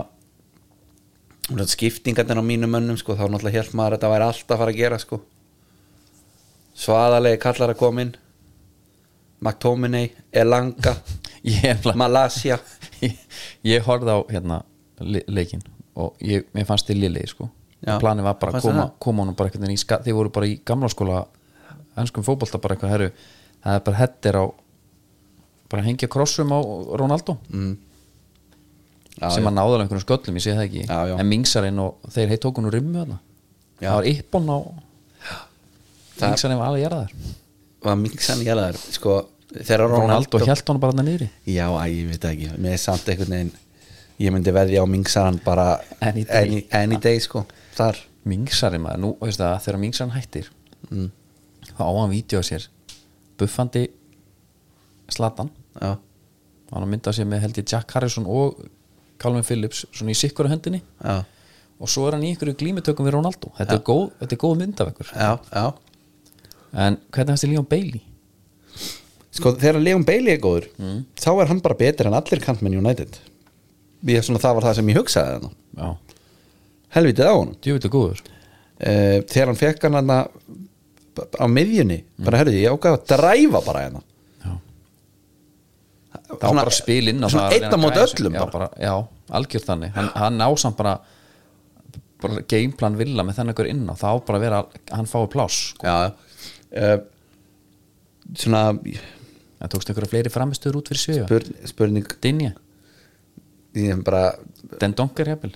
B: skiptingarnir á mínum mönnum sko, þá náttúrulega held maður að þetta væri alltaf að fara að gera sko. svaðalegi kallar að koma inn McTominay, [LAUGHS] Elanga
A: Ég, hefla,
B: Malasia
A: ég, ég horfði á hérna le leikin og ég, mér fannst þið liðlegi sko
B: Já.
A: og planið var bara að
B: Fannst þér
A: koma,
B: það?
A: koma honum bara einhvern veginn í skat þið voru bara í gamla skóla ennskum fótbolta bara eitthvað herru það er bara hettir á bara hengja krossum á Ronaldo
B: Mm. já,
A: sem
B: já.
A: að náðalega einhvern sköllum, ég sé það ekki
B: Já, já.
A: en mingsarinn og þeir heitt tókunum rimmu þarna
B: Já.
A: það var yppon á
B: Það-
A: mingsarinn var alveg jarðar
B: var mingsan jælaður sko, þegar
A: Ronaldo,
B: Ronaldo,
A: Ronaldo hjælt honum bara þarna niðri
B: já, æ, ég veit það ekki mér er samt einhvern veginn ég myndi veðja á mingsan bara
A: Any day.
B: any, any day sko, þar
A: mingsari maður, nú veist það þegar mingsarinn hættir
B: Mm.
A: þá á hann vídeo á sér buffandi slatan
B: já,
A: hann mynda sér með held ég Jack Harrison og Calvin Phillips svona í sikkur á hendinni
B: já,
A: og svo er hann í ykkur glímutökum við Ronaldo þetta er góð, þetta er góð mynd af ykkur
B: já, já
A: en hvernig hans er Leon Bailey
B: sko þegar Leon Bailey er góður þá er hann bara betur en allir kantmenn United ég, svona, það var það sem ég hugsaði hann
A: já,
B: helvitið á honum
A: djúvitt er góður
B: uh, þegar hann fekk hann hann á miðjunni, bara herðu ég ákvað að dræfa bara hérna
A: já. þá bara spil inn á hérna það
B: svona
A: að reyna
B: einn á
A: að
B: móti
A: græja sig.
B: öllum
A: já,
B: bara.
A: bara, já algjör þannig hann, hann ásamt bara, bara gameplan villa með þennan ykkur inn á þá bara að vera, hann fái pláss sko.
B: já uh, svona
A: en tókst ykkur fleiri framistöður út fyrir sviða
B: spurning, spurning
A: Dinja,
B: ég er bara
A: Den Donker hefðil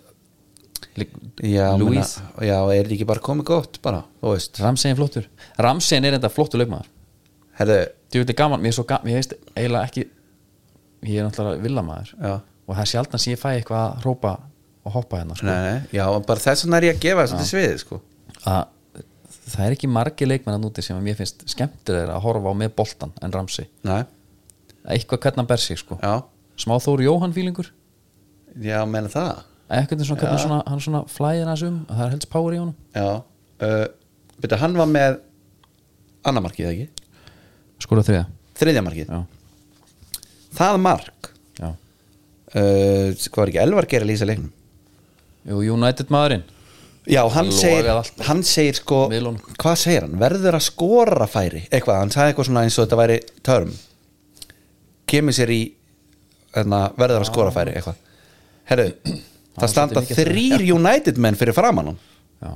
B: já,
A: Louis,
B: meina, já, er ekki bara komið gott bara, þú veist
A: Ramsegin flottur Ramsegin er enda flottur leikmaður
B: herðu,
A: Djúvill er gaman, mér er svo gaman, ég veist eiginlega ekki ég er náttúrulega villamaður
B: Já.
A: og það er sjaldan sem ég fæ eitthvað að hrópa og hoppa hérna sko.
B: nei, nei, já, bara þess vegna er ég að gefa þessu til sviði, sko
A: að það er ekki margi leikmenn að núti sem að mér finnst skemmtilegur að horfa á með boltan en Ramsi
B: nei,
A: eitthvað hvernig hann ber sig sko
B: já,
A: smá Þór Jóhann fílingur
B: já, menna það
A: eitthvað svona, hvernig svona, hann svona flæðir hans um það er helst power í honum
B: já, uh, betur hann var með annamarkið, ekki?
A: skora þriða
B: þriðjamarkið,
A: já,
B: það mark
A: já.
B: uh, hvað er ekki, Elvar gerir lýsa leiknum
A: Jú, United maðurinn
B: já, hann
A: Logar
B: segir,
A: allt.
B: hann segir sko
A: Miðlunum.
B: hvað segir hann, verður að skora færi eitthvað, hann sagði eitthvað svona eins og þetta væri törm kemur sér í hérna, verður að skora færi eitthvað, herru það
A: svolítið
B: standa
A: mikið
B: þrýr United menn fyrir framan hann
A: já,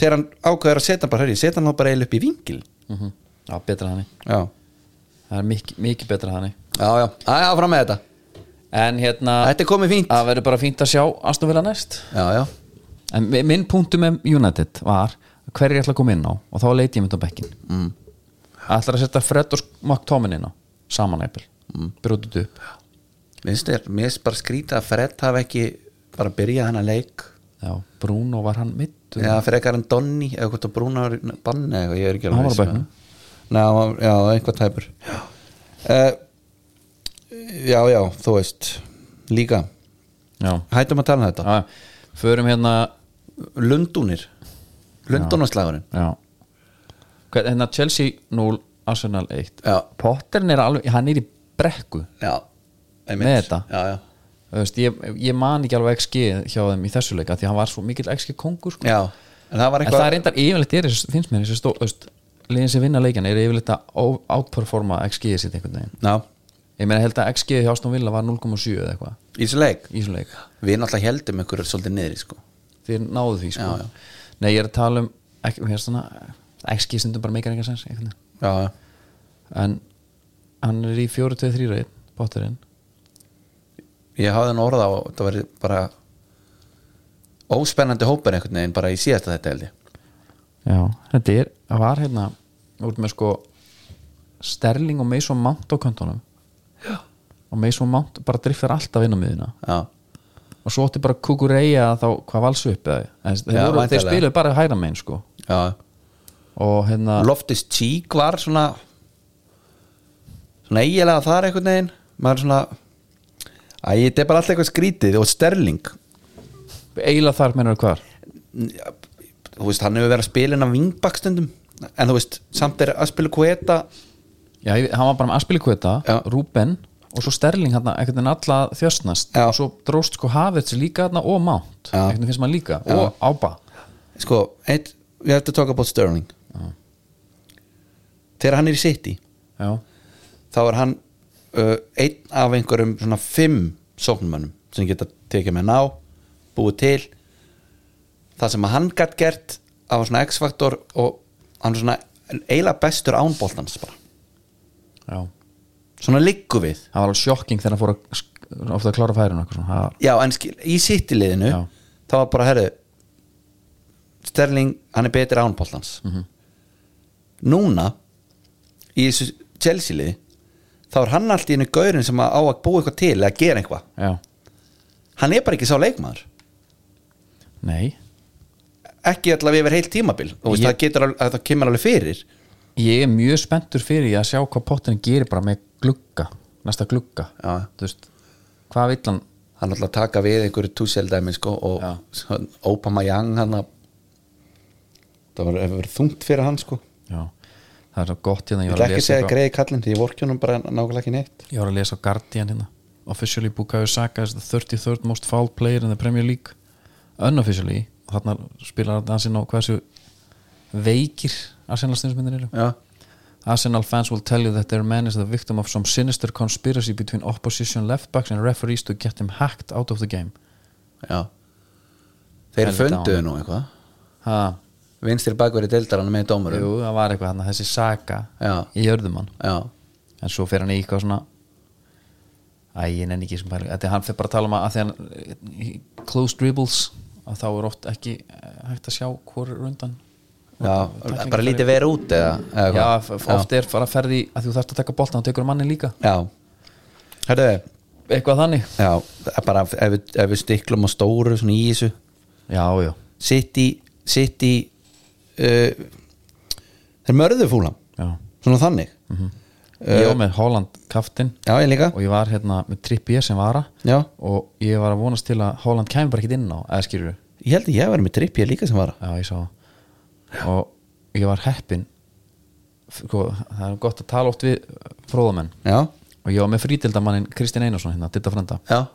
B: þegar hann ákveður að setja hann bara, herri, setja hann þá bara eiginlega upp í vingil
A: mm já betra þannig
B: já,
A: það er mikið, mikið betra þannig
B: já, já, já, fram með þetta
A: en hérna,
B: þetta er komið fínt,
A: það verður bara fínt að sjá Aston Villa næst
B: já, já,
A: En mi- minn punktum með United var hverju ég ætla að koma inn á og þá leiti ég mynd á bekkin mm. ætlar að setja Fred og McTomin inn á saman eppil, mm. brjótið upp
B: minnst þér mér er bara skrýta að Fred hafi ekki bara byrjað hann að leik
A: já, Bruno var hann mittur
B: Já, frekar en Donny eða hvort að Brúna var banni eða eitthvað, ég er
A: eh,
B: ekki
A: Hann var á
B: viss með
A: bekknum.
B: það. Nei, hann var- já, eitthvað tæpur já. já, já, þú veist Líka,
A: já,
B: hættum að tala um þetta
A: já, förum hérna
B: Lundúnir Lundúnaslagurinn
A: já Hvern, hérna Chelsea 0, Arsenal 1
B: Já.
A: Potterin er alveg, hann er í brekku
B: Já, einmitt.
A: Með þetta?
B: Já, já,
A: Þú veist, ég, ég man ekki alveg XG hjá þeim í þessu leika því hann var svo mikill XG kongur sko.
B: já En það var
A: en það er
B: eitthvað
A: reyndar yfirleitt er, þessi- finnst mér þessi stó, veist, liðin sem vinna leikjan er yfirleitt að ó- outperforma XG sitt einhvern veginn
B: Já,
A: ég meina held að XG hjá Aston Villa var 0,7 eða eitthvað
B: í þessu leik
A: í þessum leik
B: Við náttúrulega heldum ykkur svolítið niðri, sko
A: þeir náðu því sko.
B: Já, já.
A: nei ég er að tala um ek- mér finnst svona, XG stundum bara meikar engan sens einhvern veginn.
B: Já, já
A: en hann er í 4-2-3 reyð bótturinn
B: Ég hafði nú orða á, það var bara óspennandi hópur einhvern veginn bara í síðasta þetta held ég
A: já, þetta er, það var hérna út með sko Sterling og Mason Mount á kantunum og Mason Mount bara driftar alltaf inn á miðina
B: Já,
A: og svo átti bara Kukureya þá hvað valsu upp eða En þeir, voru,
B: Já,
A: þeir
B: væntanlega.
A: spiluðu bara hæra megin sko
B: já
A: og hérna
B: Loftus Cheek var svona svona eiginlega þar einhvern veginn maður er svona æ, þetta er bara alltaf eitthvað skrítið og Sterling
A: eiginlega þar mennur hvar
B: þú veist, hann hefur verið að spila inn á vingbakstundum en þú veist, samt er að spila kveta
A: já, ég- hann var bara með Aspilikveta,
B: Já.
A: Ruben og svo Sterling hérna, einhvern veginn alla þjöstnast
B: Já.
A: og svo dróst sko Havertz líka hérna og Mount,
B: Já.
A: einhvern veginn finnst maður líka og Ába,
B: sko, eitt, we have to talk about Sterling þegar hann er í City
A: já,
B: þá er hann uh, einn af einhverjum svona fimm sóknumönnum sem geta tekið með ná búið til það sem að hann gætt gert af svona x-faktor og hann er svona eiginlega bestur ánboltans bara
A: já
B: svona liggu við
A: það var alveg sjokking þegar hann fór að sk- ofta að klára færinu og eitthvað svona, það,
B: já en skil, í sittiliðinu
A: Já.
B: þá var bara herru Sterling hann er betri ánboltans mm -hmm. núna í þessu Chelsea liði þá er hann allt í einu gaurin sem að á að búa eitthvað til eða gera eitthvað
A: já,
B: hann er bara ekki sá leikmaður
A: nei
B: ekki allavega yfir heilt tímabil Þú veist,
A: Ég-
B: það, getur, alveg- það kemur alveg fyrir
A: ég er mjög spenntur fyrir því að sjá hvað potturinn gerir bara með glugga næsta glugga
B: Já.
A: Þú veist, hvað vill hann
B: hann ætla að taka við einhverju túsjeldæmi sko, og
A: Já.
B: svo Obama Young hann að það var, hefur verið þungt fyrir hann sko.
A: já. það er svo gott hérna
B: ég
A: ég var
B: ætla
A: að
B: ekki að
A: lesa,
B: segja
A: eitthvað-
B: greiði kallinn því ég vorki honum bara nákvæmlega ekki neitt
A: ég var að lesa á Guardian hérna officially Bukayo Saka is the 33rd most foul player in the Premier League unofficially og þarna spilar hann sinn á hversu veikir Arsenal stundismyndir eru
B: já,
A: Arsenal fans will tell you that their man is the victim of some sinister conspiracy between opposition left backs and referees to get him hacked out of the game
B: já. þeir
A: Helvita
B: funduðu
A: honum.
B: nú eitthvað
A: ha,
B: vinstir bakverið deildar hann með dómurum
A: jú, það var eitthvað hann þessi Saka
B: Já.
A: í jörðum hann
B: já,
A: en svo fer hann í eitthvað svona æ, ég nenni ekki sem pæling þetta hann fer bara að tala um að að því hann eh, close dribbles að þá er oft ekki eh, hægt að sjá hvor er undan
B: já. bara lítið verið út eða, eða
A: já,
B: hvað?
A: f- f- oft er bara að ferði að þú þarfst að taka boltan og tekur manni líka
B: já, hörðu
A: eitthvað þannig
B: já, það er bara ef, við- ef við stiklum á stóru svona í þessu
A: já, já,
B: sitt í sitt í uh, þeir mörðu fúlam
A: já
B: svona þannig
A: ég var með Holland kaftin
B: já ég líka
A: og ég var hérna með Trippier sem vara
B: já,
A: og ég var að vonast til að Holland kæmi bara ekkert inn á eða skýrur
B: ég held að ég var með tripp ég líka sem var
A: já ég sá það og ég var heppin sko, það er gott að tala oft við fróðamenn
B: já,
A: og ég var með frítildamannin Kristinn Einarsson hérna, Ditta Frenda
B: já
A: á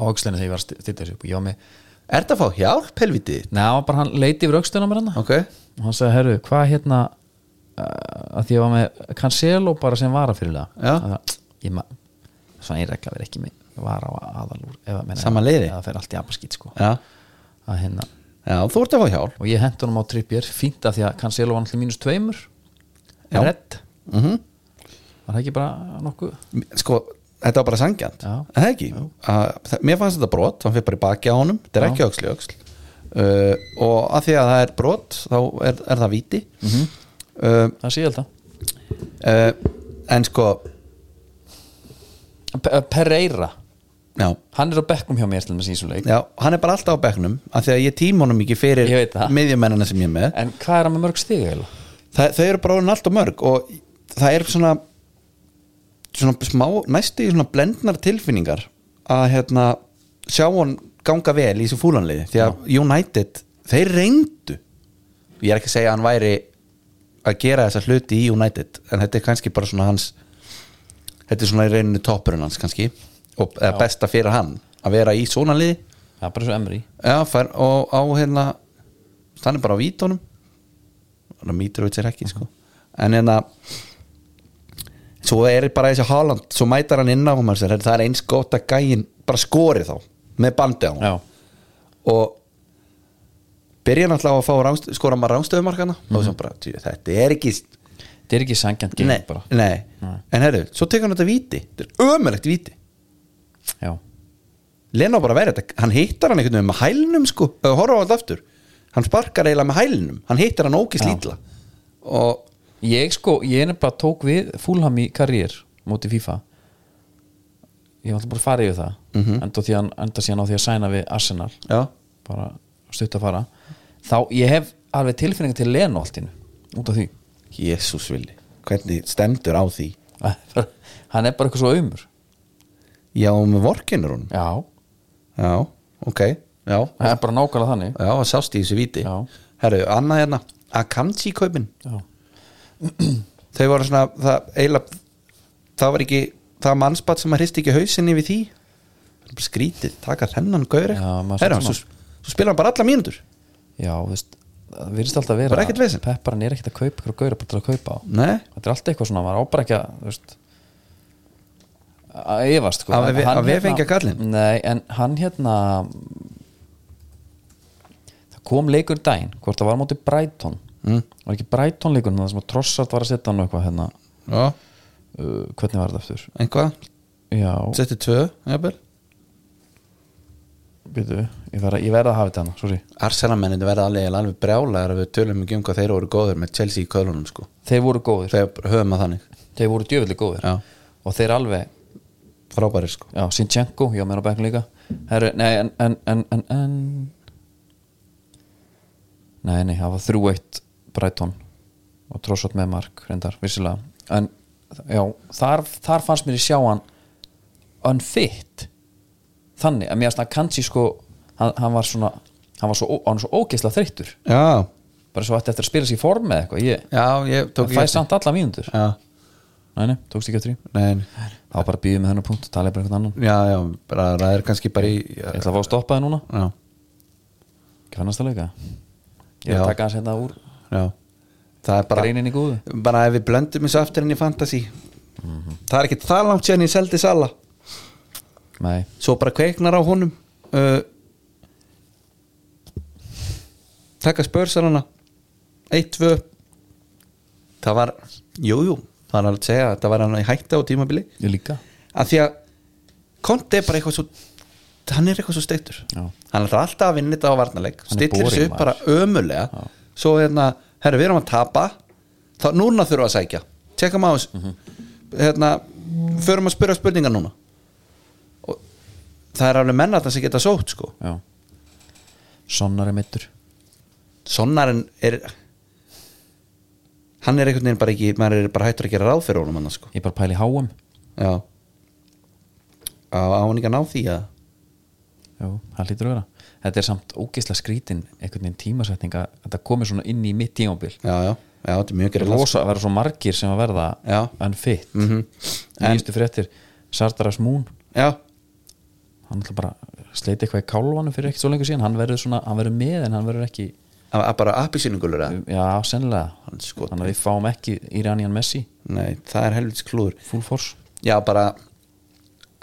A: aukslinu þegar ég var að stilla þessu upp og ég var með,
B: er þetta að fá hjálp helviti
A: neða bara hann leiti yfir aukslinu á mér hann
B: ok,
A: og hann sagði, herru, hvað hérna uh, að því ég var með Cancelo bara sem vara fyrir
B: Já.
A: það ég maður svona ég regla verið ekki með vara á aðalúr eða, meina,
B: Sama liði?
A: eða það fer allt í abaskýt sko
B: já,
A: að hérna
B: já þú ert að fá hjálp
A: og ég hent honum á Trippier fínt af því að Cancelo var náttúrulega mínus tveimur
B: Já.
A: redd
B: mm
A: var það ekki bara nokkuð
B: sko, þetta var bara sangjant
A: Já.
B: Er það ekki, að, það- mér fannst þetta brot hann fyrir bara í baki á honum, þetta er
A: Já.
B: ekki öxli öxl uh, og að því að það er brot þá er, er það viti mm
A: það sé ég held að
B: uh, en sko
A: Pe- eh, Pereira,
B: já,
A: hann er á bekkum hjá mér til þess að síðan leik
B: já, hann er bara alltaf á bekknum af því að ég tíma honum ekki fyrir
A: Ég veit það.
B: miðjumennina sem ég er með
A: en hvað er hann með mörg stig eiginlega?
B: Þa, þau eru bara orðin alltaf mörg og það er svona svona smá, næstu í svona blendnar tilfinningar að hérna sjá hann ganga vel í þessu fúlanliði því að United, þeir reyndu ég er ekki að segja að hann væri að gera þessa hluti í United en þetta er kannski bara svona hans þetta er svona í reyninu toppurinn hans kannski og eða besta fyrir hann að vera í svona liði
A: það er bara svo emri
B: Já, fær, og á hérna hann er bara á vítunum hann er mítruvits er ekki sko. en hérna svo er bara þessi Haaland svo mætar hann inn á hann sér, það er eins gott að gæin bara skori þá með bandi á hann
A: já,
B: og byrja náttúrulega á að fá rángst, skora maður rángstöðumarkana
A: Mhm.
B: og svo bara, tjú, þetta er ekki
A: þetta er ekki sangjant game
B: nei,
A: bara
B: nei. en herru, svo tekur hann þetta víti þetta er ömulegt víti
A: já,
B: Lena á bara að vera þetta, hann hittar hann einhvern veginn með hælnum sko, eða horfa á allt aftur hann sparkar eiginlega með hælnum, hann hittar hann ókist
A: Já.
B: lítla og
A: ég sko ég er bara tók við fúlham í karriér móti FIFA ég var alltaf bara að fara yfir það mm
B: Mhm.
A: -hmm. enda, á því að- enda síðan á því að sæna við Arsenal
B: já,
A: bara stutt að fara þá ég hef alveg tilfinninga til Lenoltinu út af því [LAUGHS]
B: jésús villi hvernig stendur á því
A: hann er bara eitthvað svo umur
B: já, og með vorkinur hún
A: já,
B: já, ok, já,
A: það er bara nákvæmlega þannig
B: já, það sást í þessu víti
A: Já.
B: herru, annað hérna Akamsi kaupin,
A: já,
B: þau voru svona það eiginlega, það var ekki það mannspatt sem að hristi ekki hausinni við því Það er bara skrítið, taka þennan gaur
A: Já, maður
B: herru,
A: sá
B: svo,
A: svona.
B: svo spila hann bara alla mínútur
A: já þú veist, það virðist alltaf að vera
B: Bara ekkert vesen.
A: pepparinn er ekkert að kaupa ykkur gauður bara til að kaupa á
B: nei,
A: þetta er alltaf eitthvað svona, maður ábæra ekki að þú veist að efast sko.
B: Að við-
A: Hann
B: að við fengja kallinn?
A: nei, en hann hérna það kom leikur dæn hvort það var á móti Brighton mm. var ekki Brighton leikur, það sem að trossart var að setja hann og eitthvað hérna,
B: já,
A: uh, hvernig var þetta aftur
B: einhvað
A: já,
B: Setti tvö, jafnvel
A: býtu, ég verð að, ég verð að hafa þetta hann sorry.
B: Arsenalmenninni verða alveg, alveg brjálæðar ef við tölum ekki um hvað þeir voru góður með Chelsea í kölunum sko.
A: þeir voru góðir,
B: þegar bara höfum að þannig
A: þeir voru djöfulli góðir
B: Já.
A: og þeir alveg,
B: frábæri sko.
A: já, Sinchenko ég á mér á bæknu líka Heru, nei, en, en, en, en, en nei, nei, það var 3-1 Brighton og trossot með mark, reyndar, vissilega en já, þar, þar fannst mér ég sjá hann unfit þannig að mér að kannski sko hann, hann var svona hann var svo, ó- hann var svo ógeðslega þreyttur
B: já,
A: bara svo ætti eftir að spila sér í form eða eitthvað ég,
B: já, ég
A: það
B: tók ekki
A: fæði samt alla mínútur
B: já,
A: nei, nei, tókst ekki eftir því
B: nein,
A: þá bara býðum með þennan punkt, talaði bara eitthvað annan
B: já, já, bara ræðir kannski bara í já,
A: ég ætla að fá að stoppa það núna,
B: já,
A: kannast að leika ég er
B: Já.
A: að taka hans hérna úr
B: já það er bara
A: greinin í góðu
B: bara ef við blöndum þessu aftur inn í fantasy það er ekkert það langt séðan ég seldi Sala
A: nei,
B: svo bara kveiknar á honum uh, taka spörsalana 1-2 það var, jújú jú, það er alveg að segja að það var hann í hætta á tímabili
A: ég líka
B: að því að Konti er bara eitthvað svo hann er eitthvað svo steittur
A: Já.
B: hann er alltaf að vinna þetta á varnarleik
A: Hann er
B: stillir þessu
A: boring
B: upp
A: maður.
B: bara ömulega svo hérna, herru við erum að tapa þá núna þurfum við að sækja tjekkum á þessu
A: Mhm.
B: hérna, förum að spyrja spurningar núna og það er alveg menna sem geta sótt sko
A: já. sonnar er mittur
B: sonnarinn er hann er einhvern veginn bara ekki maður er bara hættur að gera ráð fyrir honum annars sko
A: ég bara pæli háum
B: já á, á hann ekki að ná því að
A: Já, það hlýtur að vera Þetta er samt ógeðslega skrítin einhvern veginn tímasetninga að þetta komi svona inn í mitt tímabil
B: já, já, já, þetta er mjög gerðilegt
A: Rosa að vera svo margir sem að verða
B: Já.
A: unfit
B: mm
A: Nýjustu fréttir Sardaras Moon
B: já,
A: hann ætla bara að sleita eitthvað í kálvanum fyrir ekki svo lengur síðan hann verður, svona, hann verður með en hann verður ekki
B: að, að bara appisýningulur eða
A: Já, sennilega
B: Hann skotar.
A: Þannig að við fáum ekki Iranian Messi
B: nei, það er helvits klúður
A: full force
B: já, bara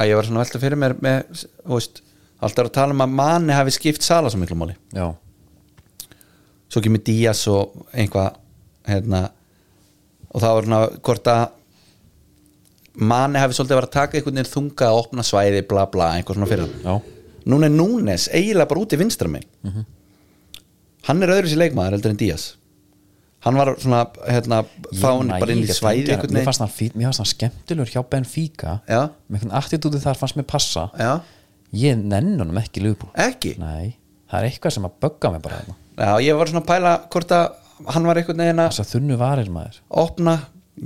B: að ég var svona að velta fyrir mér með, þú veist, alltaf er að tala um að manni hafi skipt sala svo miklu máli
A: Já,
B: svo kemur Díaz og einhvað hérna og það var svona hvort að manni hafi svolítið verið að taka einhvern veginn þunga að opna svæði, bla bla, einhver svona fyrir hann
A: já,
B: núna er Núnes eiginlega bara út í vinstrami hann er öðru sér leikmaður heldur en Díaz hann var svona hérna, þá
A: Ég
B: hann
A: næ
B: bara inn í
A: ekki að
B: svæði
A: tengja-
B: einhvern
A: Mér
B: veginn
A: fannst hann fínn- mér fannst hann skemmtilegur hjá Benfica
B: Já.
A: Með einhvern attitúti þar fannst mér passa
B: já,
A: Ég nenn honum ekki í Liverpool
B: ekki
A: Nei, það er eitthvað sem að bögga mig bara þarna
B: já, ég var svona að pæla hvort að hann var einhvern veginn að
A: Þess að þunnu varir maður
B: opna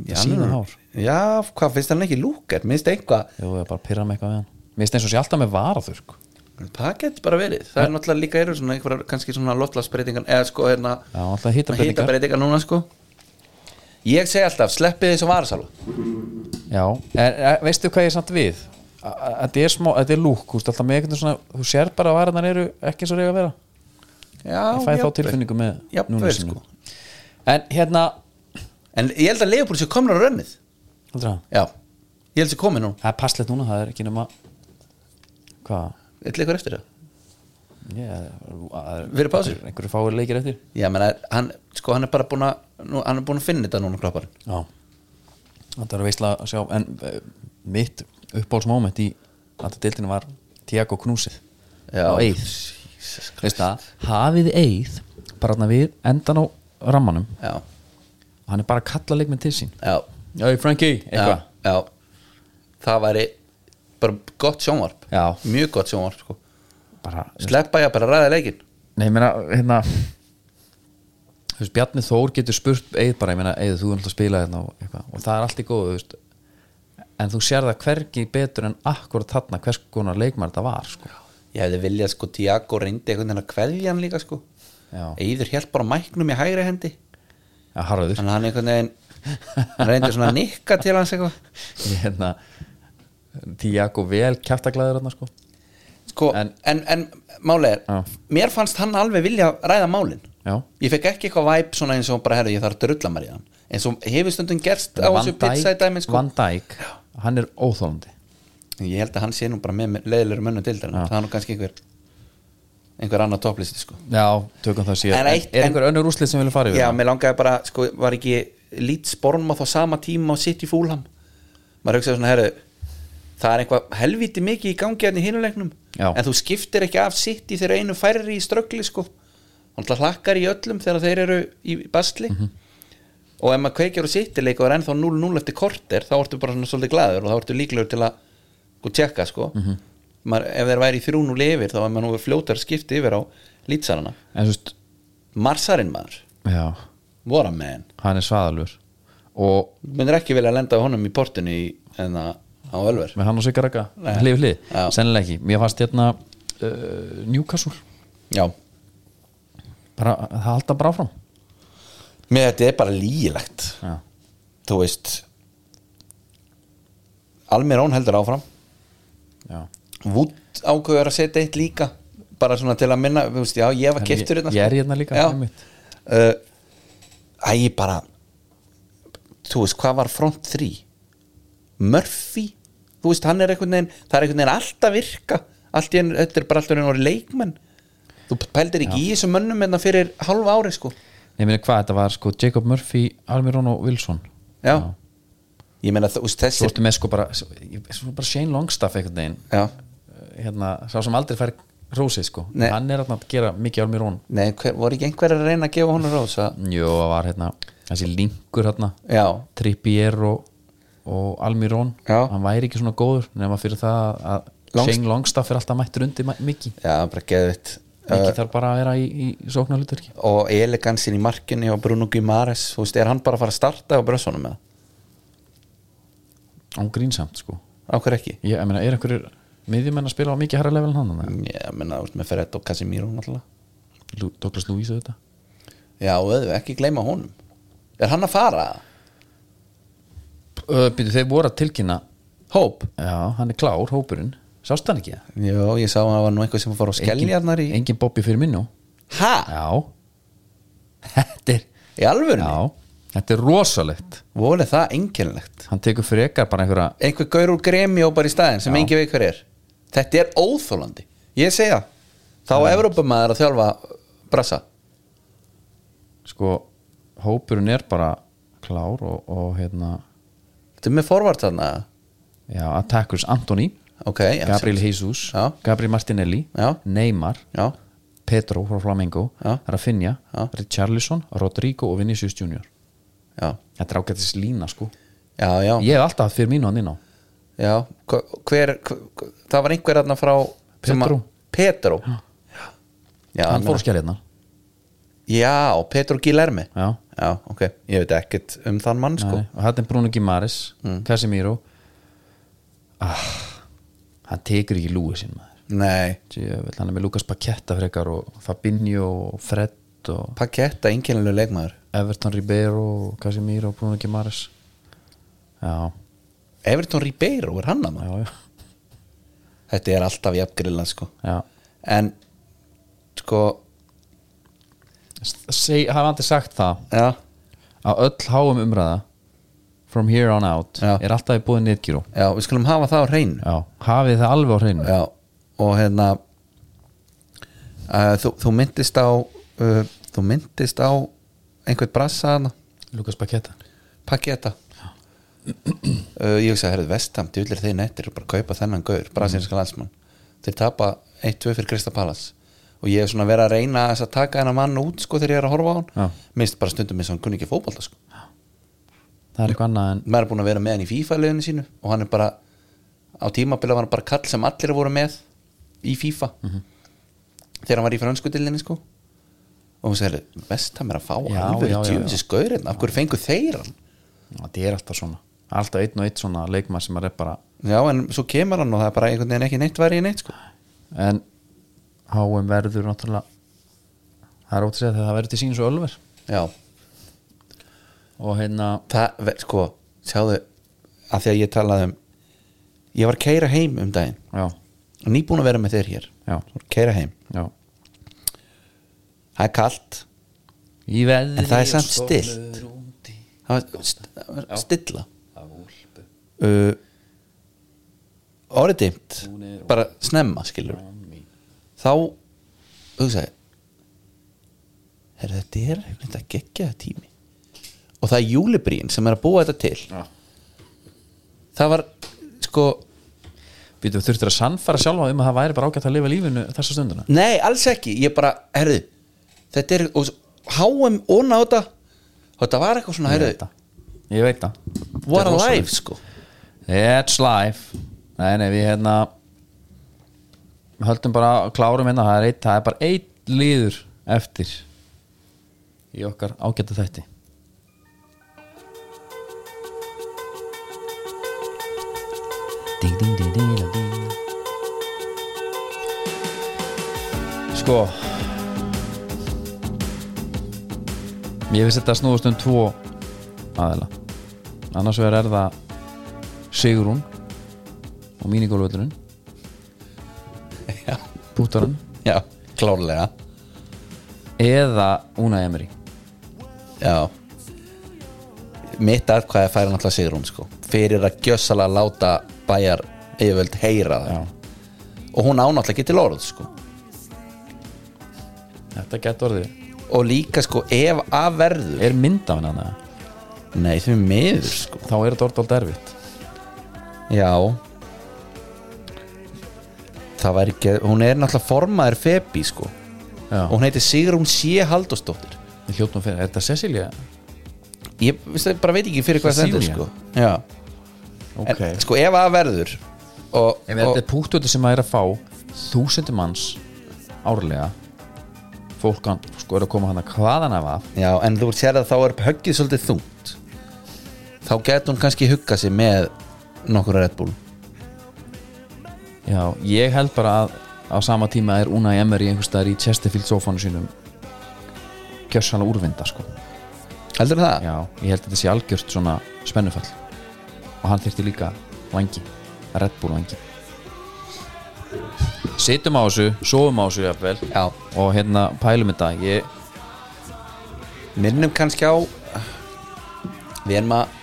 B: já,
A: Sínu
B: hann er-
A: hár.
B: já, hvað finnst hann ekki lúkar minnst eitthvað,
A: Jú, ég er bara að pyrra mig eitthvað við hann Mér finnst eins og sé alltaf með varaþurrk
B: það getur bara verið það er náttúrulega líka eru svona einhverjar kannski svona loftlagsbreytingan eða sko hérna
A: Já, alltaf hitabreytingar
B: hitabreytingar núna sko ég segi alltaf, sleppið þessu varasala
A: Já, en e, veistu hvað ég er samt við? A- a- Þetta er smá, þetta er lúk, þú veist alltaf með einhvern veginn svona Þú sér bara að varirnar eru ekki eins og reyga að vera
B: já,
A: Ég fæ þá
B: jafnvel.
A: tilfinningu með
B: Jafnvel,
A: núna
B: sko.
A: En hérna,
B: en ég held að Leopold séu komnur á rönnið
A: heldur það
B: já, ég held séu komið nú
A: Það er passlegt núna, það er ekki nema Hvað?
B: eitthvað leikur eftir það
A: Yeah,
B: Verið pásir?
A: Einhverju fáir leikir eftir
B: já, menna, hann, sko, hann er bara búin að nú, hann er búin að finna þetta núna kroppar
A: Já Þetta er að veistla að sjá En eh, mitt uppbólsmoment í Þetta deildinu var Tiago Knúsið
B: Já.
A: Á Eið Veist það Hafið Eið Bara þarna við endan á rammanum
B: já,
A: Og hann er bara að kalla leikminn til sín
B: já,
A: Já, Frankie
B: já,
A: Eitthvað
B: já það væri bara gott sjónvarp
A: Já.
B: mjög gott sjónvarp sko.
A: Bara
B: sleppa ég að bara ræða leikinn
A: Nei, ég meina, hérna Þú veist, Bjarni Þór getur spurt Eið bara, ég meina, Eið, þú er alltaf að spila hérna og, eitthvað, og það er allt í góðu, þú veist En þú sér það hvergi betur en akkurat þarna hvers konar leikmar þetta var, sko
B: ég hefði viljað sko Tiago reyndi einhvern veginn að kvelja hann líka sko
A: Já.
B: Eiður held bara mæknum í hægri hendi
A: Já, harður [LAUGHS]
B: þannig að hann einhvern veginn hann reyndi svona að nikka til hans eitthvað
A: Ég hérna Tiago vel kjæftaglæður hann sko
B: sko, en,
A: En-
B: en, málið er
A: Já.
B: mér fannst hann alveg vilja ræða málin
A: Já.
B: ég fekk ekki eitthvað væp svona eins og bara herru ég þarf að drulla maður í hann eins og hefur stundum gerst á þessu pizzædæmi sko.
A: Van Dijk, hann er óþólandi
B: ég held að hann sé nú bara með leðilegur mönnum til það er nú kannski einhver einhver annar topplisti sko
A: Já, tökum það síðan
B: En
A: En
B: eitt-
A: Er
B: en-
A: einhver önnur úslið sem vilja fara yfir
B: já,
A: það?
B: mér langaði bara, sko, var ekki lít spornmáð á sama tíma og sitt í fúlham maður hugsaði svona, herru það er eitthvað helviti mikið í gangi hérna í hinulegnum,
A: Já.
B: en þú skiptir ekki af sitt í þeirra einu færri í ströggli, sko hann alltaf hlakkar í öllum þegar þeir eru í basli og ef maður kveikjar og sitt í leik og er ennþá 0-0 eftir korter, þá ertu bara svona svolítið glaður og þá ertu líklegur til að sko, tjekka, sko maður, ef þeir væri í 3-0 yfir, þá er maður nú fljótar skipti yfir á lýtsarana
A: En þú veist,
B: Marsarinn maður,
A: já,
B: what a man
A: hann er svaðalur og
B: myndir ekki vilja lenda á honum í portinu í, en að á Ölver
A: með hann og Sigga Raka hlið við hlið,
B: Já.
A: sennilega ekki mér fannst hérna uh, Newcastle
B: já,
A: bara, það halda bara áfram
B: mér þetta er bara lígilegt
A: já,
B: þú veist Almirón heldur áfram
A: já.
B: Wood ákveður að setja eitt líka bara svona til að minna, þú veist, já, ég var sko.
A: En
B: keftur
A: ég- ég er hérna líka, einmitt.
B: uh, Æ, ég bara þú veist, hvað var front 3 Murphy þú veist, hann er einhvern veginn, það er einhvern veginn allt að virka, allt í enn, þetta er bara alltaf einhvern veginn leikmenn þú pældir ekki í þessum mönnum en fyrir hálfa ári sko,
A: Nei, ég meina hvað, þetta var sko Jacob Murphy, Almiron og Wilson
B: já, ég meina, þú veist,
A: svo
B: þessi
A: ertu með sko bara, svo bara Shane Longstaff einhvern veginn
B: já,
A: hérna, sá sem aldrei fær rósið sko
B: Nei.
A: hann er þarna að gera mikið Almiron
B: nei, hver, voru ekki einhver að reyna að gefa honum rós að,
A: Jó, það var hérna, þessi linkur hérna
B: já,
A: Trippier og, og Almiron
B: Já.
A: hann væri ekki svona góður nema fyrir það að
B: Longst-
A: Shane Longstaff er alltaf mættur undir Miki
B: já, bara geðvitt
A: Miki þarf bara að vera í, í sóknarlutverki
B: og elegansin í markinu og Bruno Guimares, þú veist, er hann bara að fara að starta á brössunum með
A: án grínsamt sko
B: það, ákveð ekki
A: ég, ég meina, er einhverjir miðjumenn að spila á mikið herra level en hann eða?
B: ég meina, þú veist, með Fred og Casimiro náttúrulega
A: Lu- Douglas Lewis auðvitað
B: já, auðvitað, ekki gleyma honum er hann að fara?
A: uh, býtu, þeir voru að tilkynna
B: Hóp?
A: já, hann er klár, hópurinn, sást hann ekki það?
B: já, ég sá að það var nú eitthvað sem fór á skelljarnar í
A: engin Bobby fyrir minn nú
B: hæ?
A: já þetta er
B: í alvörni?
A: já, þetta er rosalegt
B: voru það einkennilegt
A: hann tekur frekar bara einhverja
B: einhver gaur úr gremi og bara í staðin sem
A: Já.
B: engin veit hver er þetta er óþólandi, ég segja þá er Evrópamaður að þjálfa brassa
A: sko, hópurinn er bara klár og, og hérna
B: þetta er með forvart þarna
A: já, attackers Anthony,
B: ok, já,
A: Gabriel
B: sem-
A: Jesus
B: Já.
A: Gabriel Martinelli,
B: Já.
A: Neymar
B: já,
A: Pedro frá Flamengo,
B: Já.
A: Rafinha
B: Já.
A: Richarlison, Rodrigo og Vinicius Junior
B: já,
A: þetta er ágættis lína sko
B: já, já.
A: ég hef alltaf haft fyrir mínu hann inn á
B: Já, hver, hver, hver það var einhver þarna frá sem að-
A: Pedro.
B: Pedro Já,
A: hann
B: ég
A: fór
B: meina-
A: á skjæliðna
B: Já, Pedro Guilherme
A: Já.
B: Já, ok, ég veit ekkert um þann mann sko Mm.
A: og þetta er Bruno Gimaris, Casemiro ah, hann tekur ekki lúið sín maður
B: Nei,
A: Djöfull, hann er með Lucas Paquetta frekar og Fabinho og Fred og
B: Paketta, einkennilegu leikmaður
A: Everton Ribeiro, Casemiro, Bruno Guimaraes Já,
B: Everton Ribeiro, er hann að maður
A: já, já,
B: Þetta er alltaf jafngrillan sko
A: já.
B: En, sko,
A: Seg, hafa andri sagt það
B: já,
A: að öll háum umræða from here on out
B: Já.
A: er alltaf í búið nýttgíró
B: já, við skulum hafa það á hreinu
A: Já, hafið það alveg á hreinu
B: Já, og hérna uh, þú, þú myndist á uh, þú myndist á einhvern brassa hana
A: Lucas Paquetta
B: pakki þetta uh, ég hugsa að herðu vestam djúlir þeir nettir og bara kaupa þennan gaur brasinska
A: Mhm.
B: landsmann þeir tapa 1-2 fyrir Krista Palas og ég hef svona verið að reyna að að taka hennar mann út sko þegar ég er að horfa á
A: Já.
B: hann minnst bara stundum eins og hann kunni ekki fótbolta sko
A: Það er eitthvað annað en
B: maður er búin að vera með hann í FIFA liðinu sínu og hann er bara á tímabila var hann bara kall sem allir voru með í FIFA
A: Mhm.
B: þegar hann var í fransku dillinni sko og hún segir, best hann er að fá
A: Já,
B: alveg
A: já, já, já.
B: djúmsins gaurinn, hérna. af hverju fengu þeir hann
A: það er alltaf svona Alltaf einn og einn svona leikmann sem er bara
B: já, en svo kemur hann og það er bara einhvern veginn ekki neitt væri í neitt sko
A: en háum verður náttúrulega það er ótt að segja þegar það verður til síns og ölver
B: já,
A: og hérna
B: það, ve- sko, sjáðu að því að ég talaði um ég var að keira heim um daginn
A: Já,
B: og nýbúin að vera með þeir hér
A: Já.
B: keira heim,
A: já
B: það er kalt
A: Í veðri
B: En það er
A: og
B: samt
A: sólur
B: stillt.
A: úti.
B: það var st- það var stilla
A: Af úlpu.
B: uh, orðið dimt bara snemma skilur þá hugsaði herri þetta er þetta geggja það tími og það er júlibrín sem er að búa þetta til
A: Já.
B: það var sko
A: Býtu, þurftir að sannfæra sjálfa um að það væri bara ágætt að lifa lífinu þessa stunduna
B: Nei, alls ekki, ég bara, herðu Þetta er, og svo- HM onna á þetta Þetta var eitthvað svona,
A: Ég
B: herðu
A: veit það. Ég veit það
B: What
A: Þetta
B: a
A: er rosalegt.
B: life, sko
A: It's life Nei, nei, við hérna höldum bara, klárum hérna það er, eitt, það er bara einn liður eftir í okkar ágæta þætti ding, ding, ding, ding, ding, ding. Sko Ég finnst þetta snúðust um tvo aðeila annars vegar er það Sigrún og mínigólvöldurinn
B: Já.
A: Búttarinn
B: já, klárlega
A: eða Una Emery
B: Já Mitt atkvæði færi náttúrulega Sigrún sko Fyrir að gjössalega láta bæjar yfirvöld heyra það
A: Já.
B: Og hún ánáttúrulega getur lórað sko
A: Þetta getur orðið
B: Og líka sko ef að verður
A: Er mynd af henni að
B: Nei því miður sko
A: þá er þetta orðið alveg erfitt
B: Já Það væri ekki Hún er náttúrulega formaður Febi sko Og
A: Já,
B: hún heitir Sigrún C. Halldórsdóttir
A: við hljóttum fyrir Er þetta Cecilia?
B: Ég veistu, bara veit ekki fyrir hvað stendur
A: Cecilia.
B: sko Já
A: Ok
B: en, Sko ef að verður og,
A: Ef
B: og,
A: þetta er punktuðu sem maður er að fá þúsundir manns árlega fólk kann, sko er að koma hann að hvaðan af af
B: Já, en þú sér að þá er höggið svolítið þungt Þá getur hún kannski huggað sér með nokkur Red Bull
A: Já, ég held bara að á sama tíma er Unai Emery einhvers staðar í Chesterfield sofánu sínum kjössalega úrvinda sko
B: Heldur það?
A: Já, ég held að þetta sé algjört svona spennufall og hann þyrfti líka vangi, Red Bull vangi Sittum á þessu, sofum á þessu jafnvel
B: Já.
A: og hérna pælum þetta ég,
B: Minnum kannski á Við erum að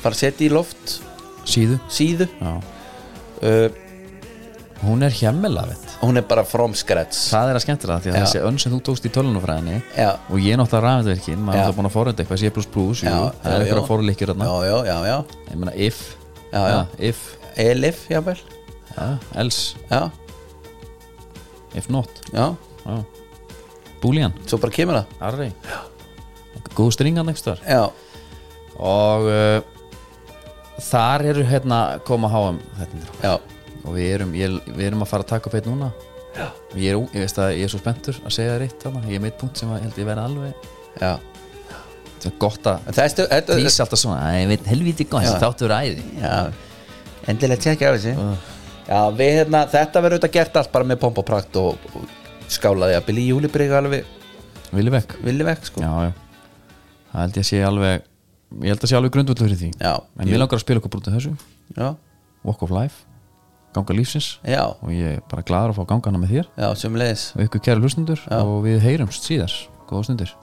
B: fara að setja í loft
A: síðu
B: síðu
A: Já.
B: uh,
A: Hún er hjemmela, veit
B: Hún er bara from scratch
A: Það er að skemmtilega því að
B: Já.
A: þessi önn sem þú tókst í tölunufræðinni
B: Já.
A: og ég er náttúrulega rafindverkin maður
B: Já.
A: er náttúrulega búin að forrönda eitthvað C++, jú, það er eitthvað að forleikir þarna
B: Já, já, já, já
A: ég meina if, Ah,
B: Já, já.
A: if
B: Elif, jável
A: ja, else,
B: Já,
A: if not
B: já,
A: já. boolean,
B: svo bara kemur það
A: arri góð stringan einhvers þar
B: Já,
A: og uh, þar eru hérna koma HM þetta er
B: já,
A: og við erum, ég, við erum að fara að taka upp eitt núna Og ég er, ú- ég, veist að, ég er svo spenntur að segja þér eitt þarna. ég er meitt punkt sem að, ég held ég verði alveg
B: já
A: það er gott að
B: En Það er stu, þetta
A: tísa alltaf svona "Æ, ég veit helviti gott,
B: Já.
A: þáttur æði
B: Já, endilega tjekkja á þessu
A: Ah.
B: Já, við hérna, þetta verður auðvitað gert allt bara með pomp og prakt og, og skálaði að byrja í júlibrygg alveg
A: vilju vekk
B: villi vekk, sko
A: já, já. það held ég að sé alveg ég held að sé alveg grundvöldur fyrir því
B: Já.
A: en ég langar að spila okkur brútið þessu
B: já,
A: Walk of Life, ganga lífsins
B: já,
A: og ég er bara gladur að fá gangana með þér
B: já sömulegis
A: og ykkur kæru hlustundur og við heyrumst síðar, góða stundir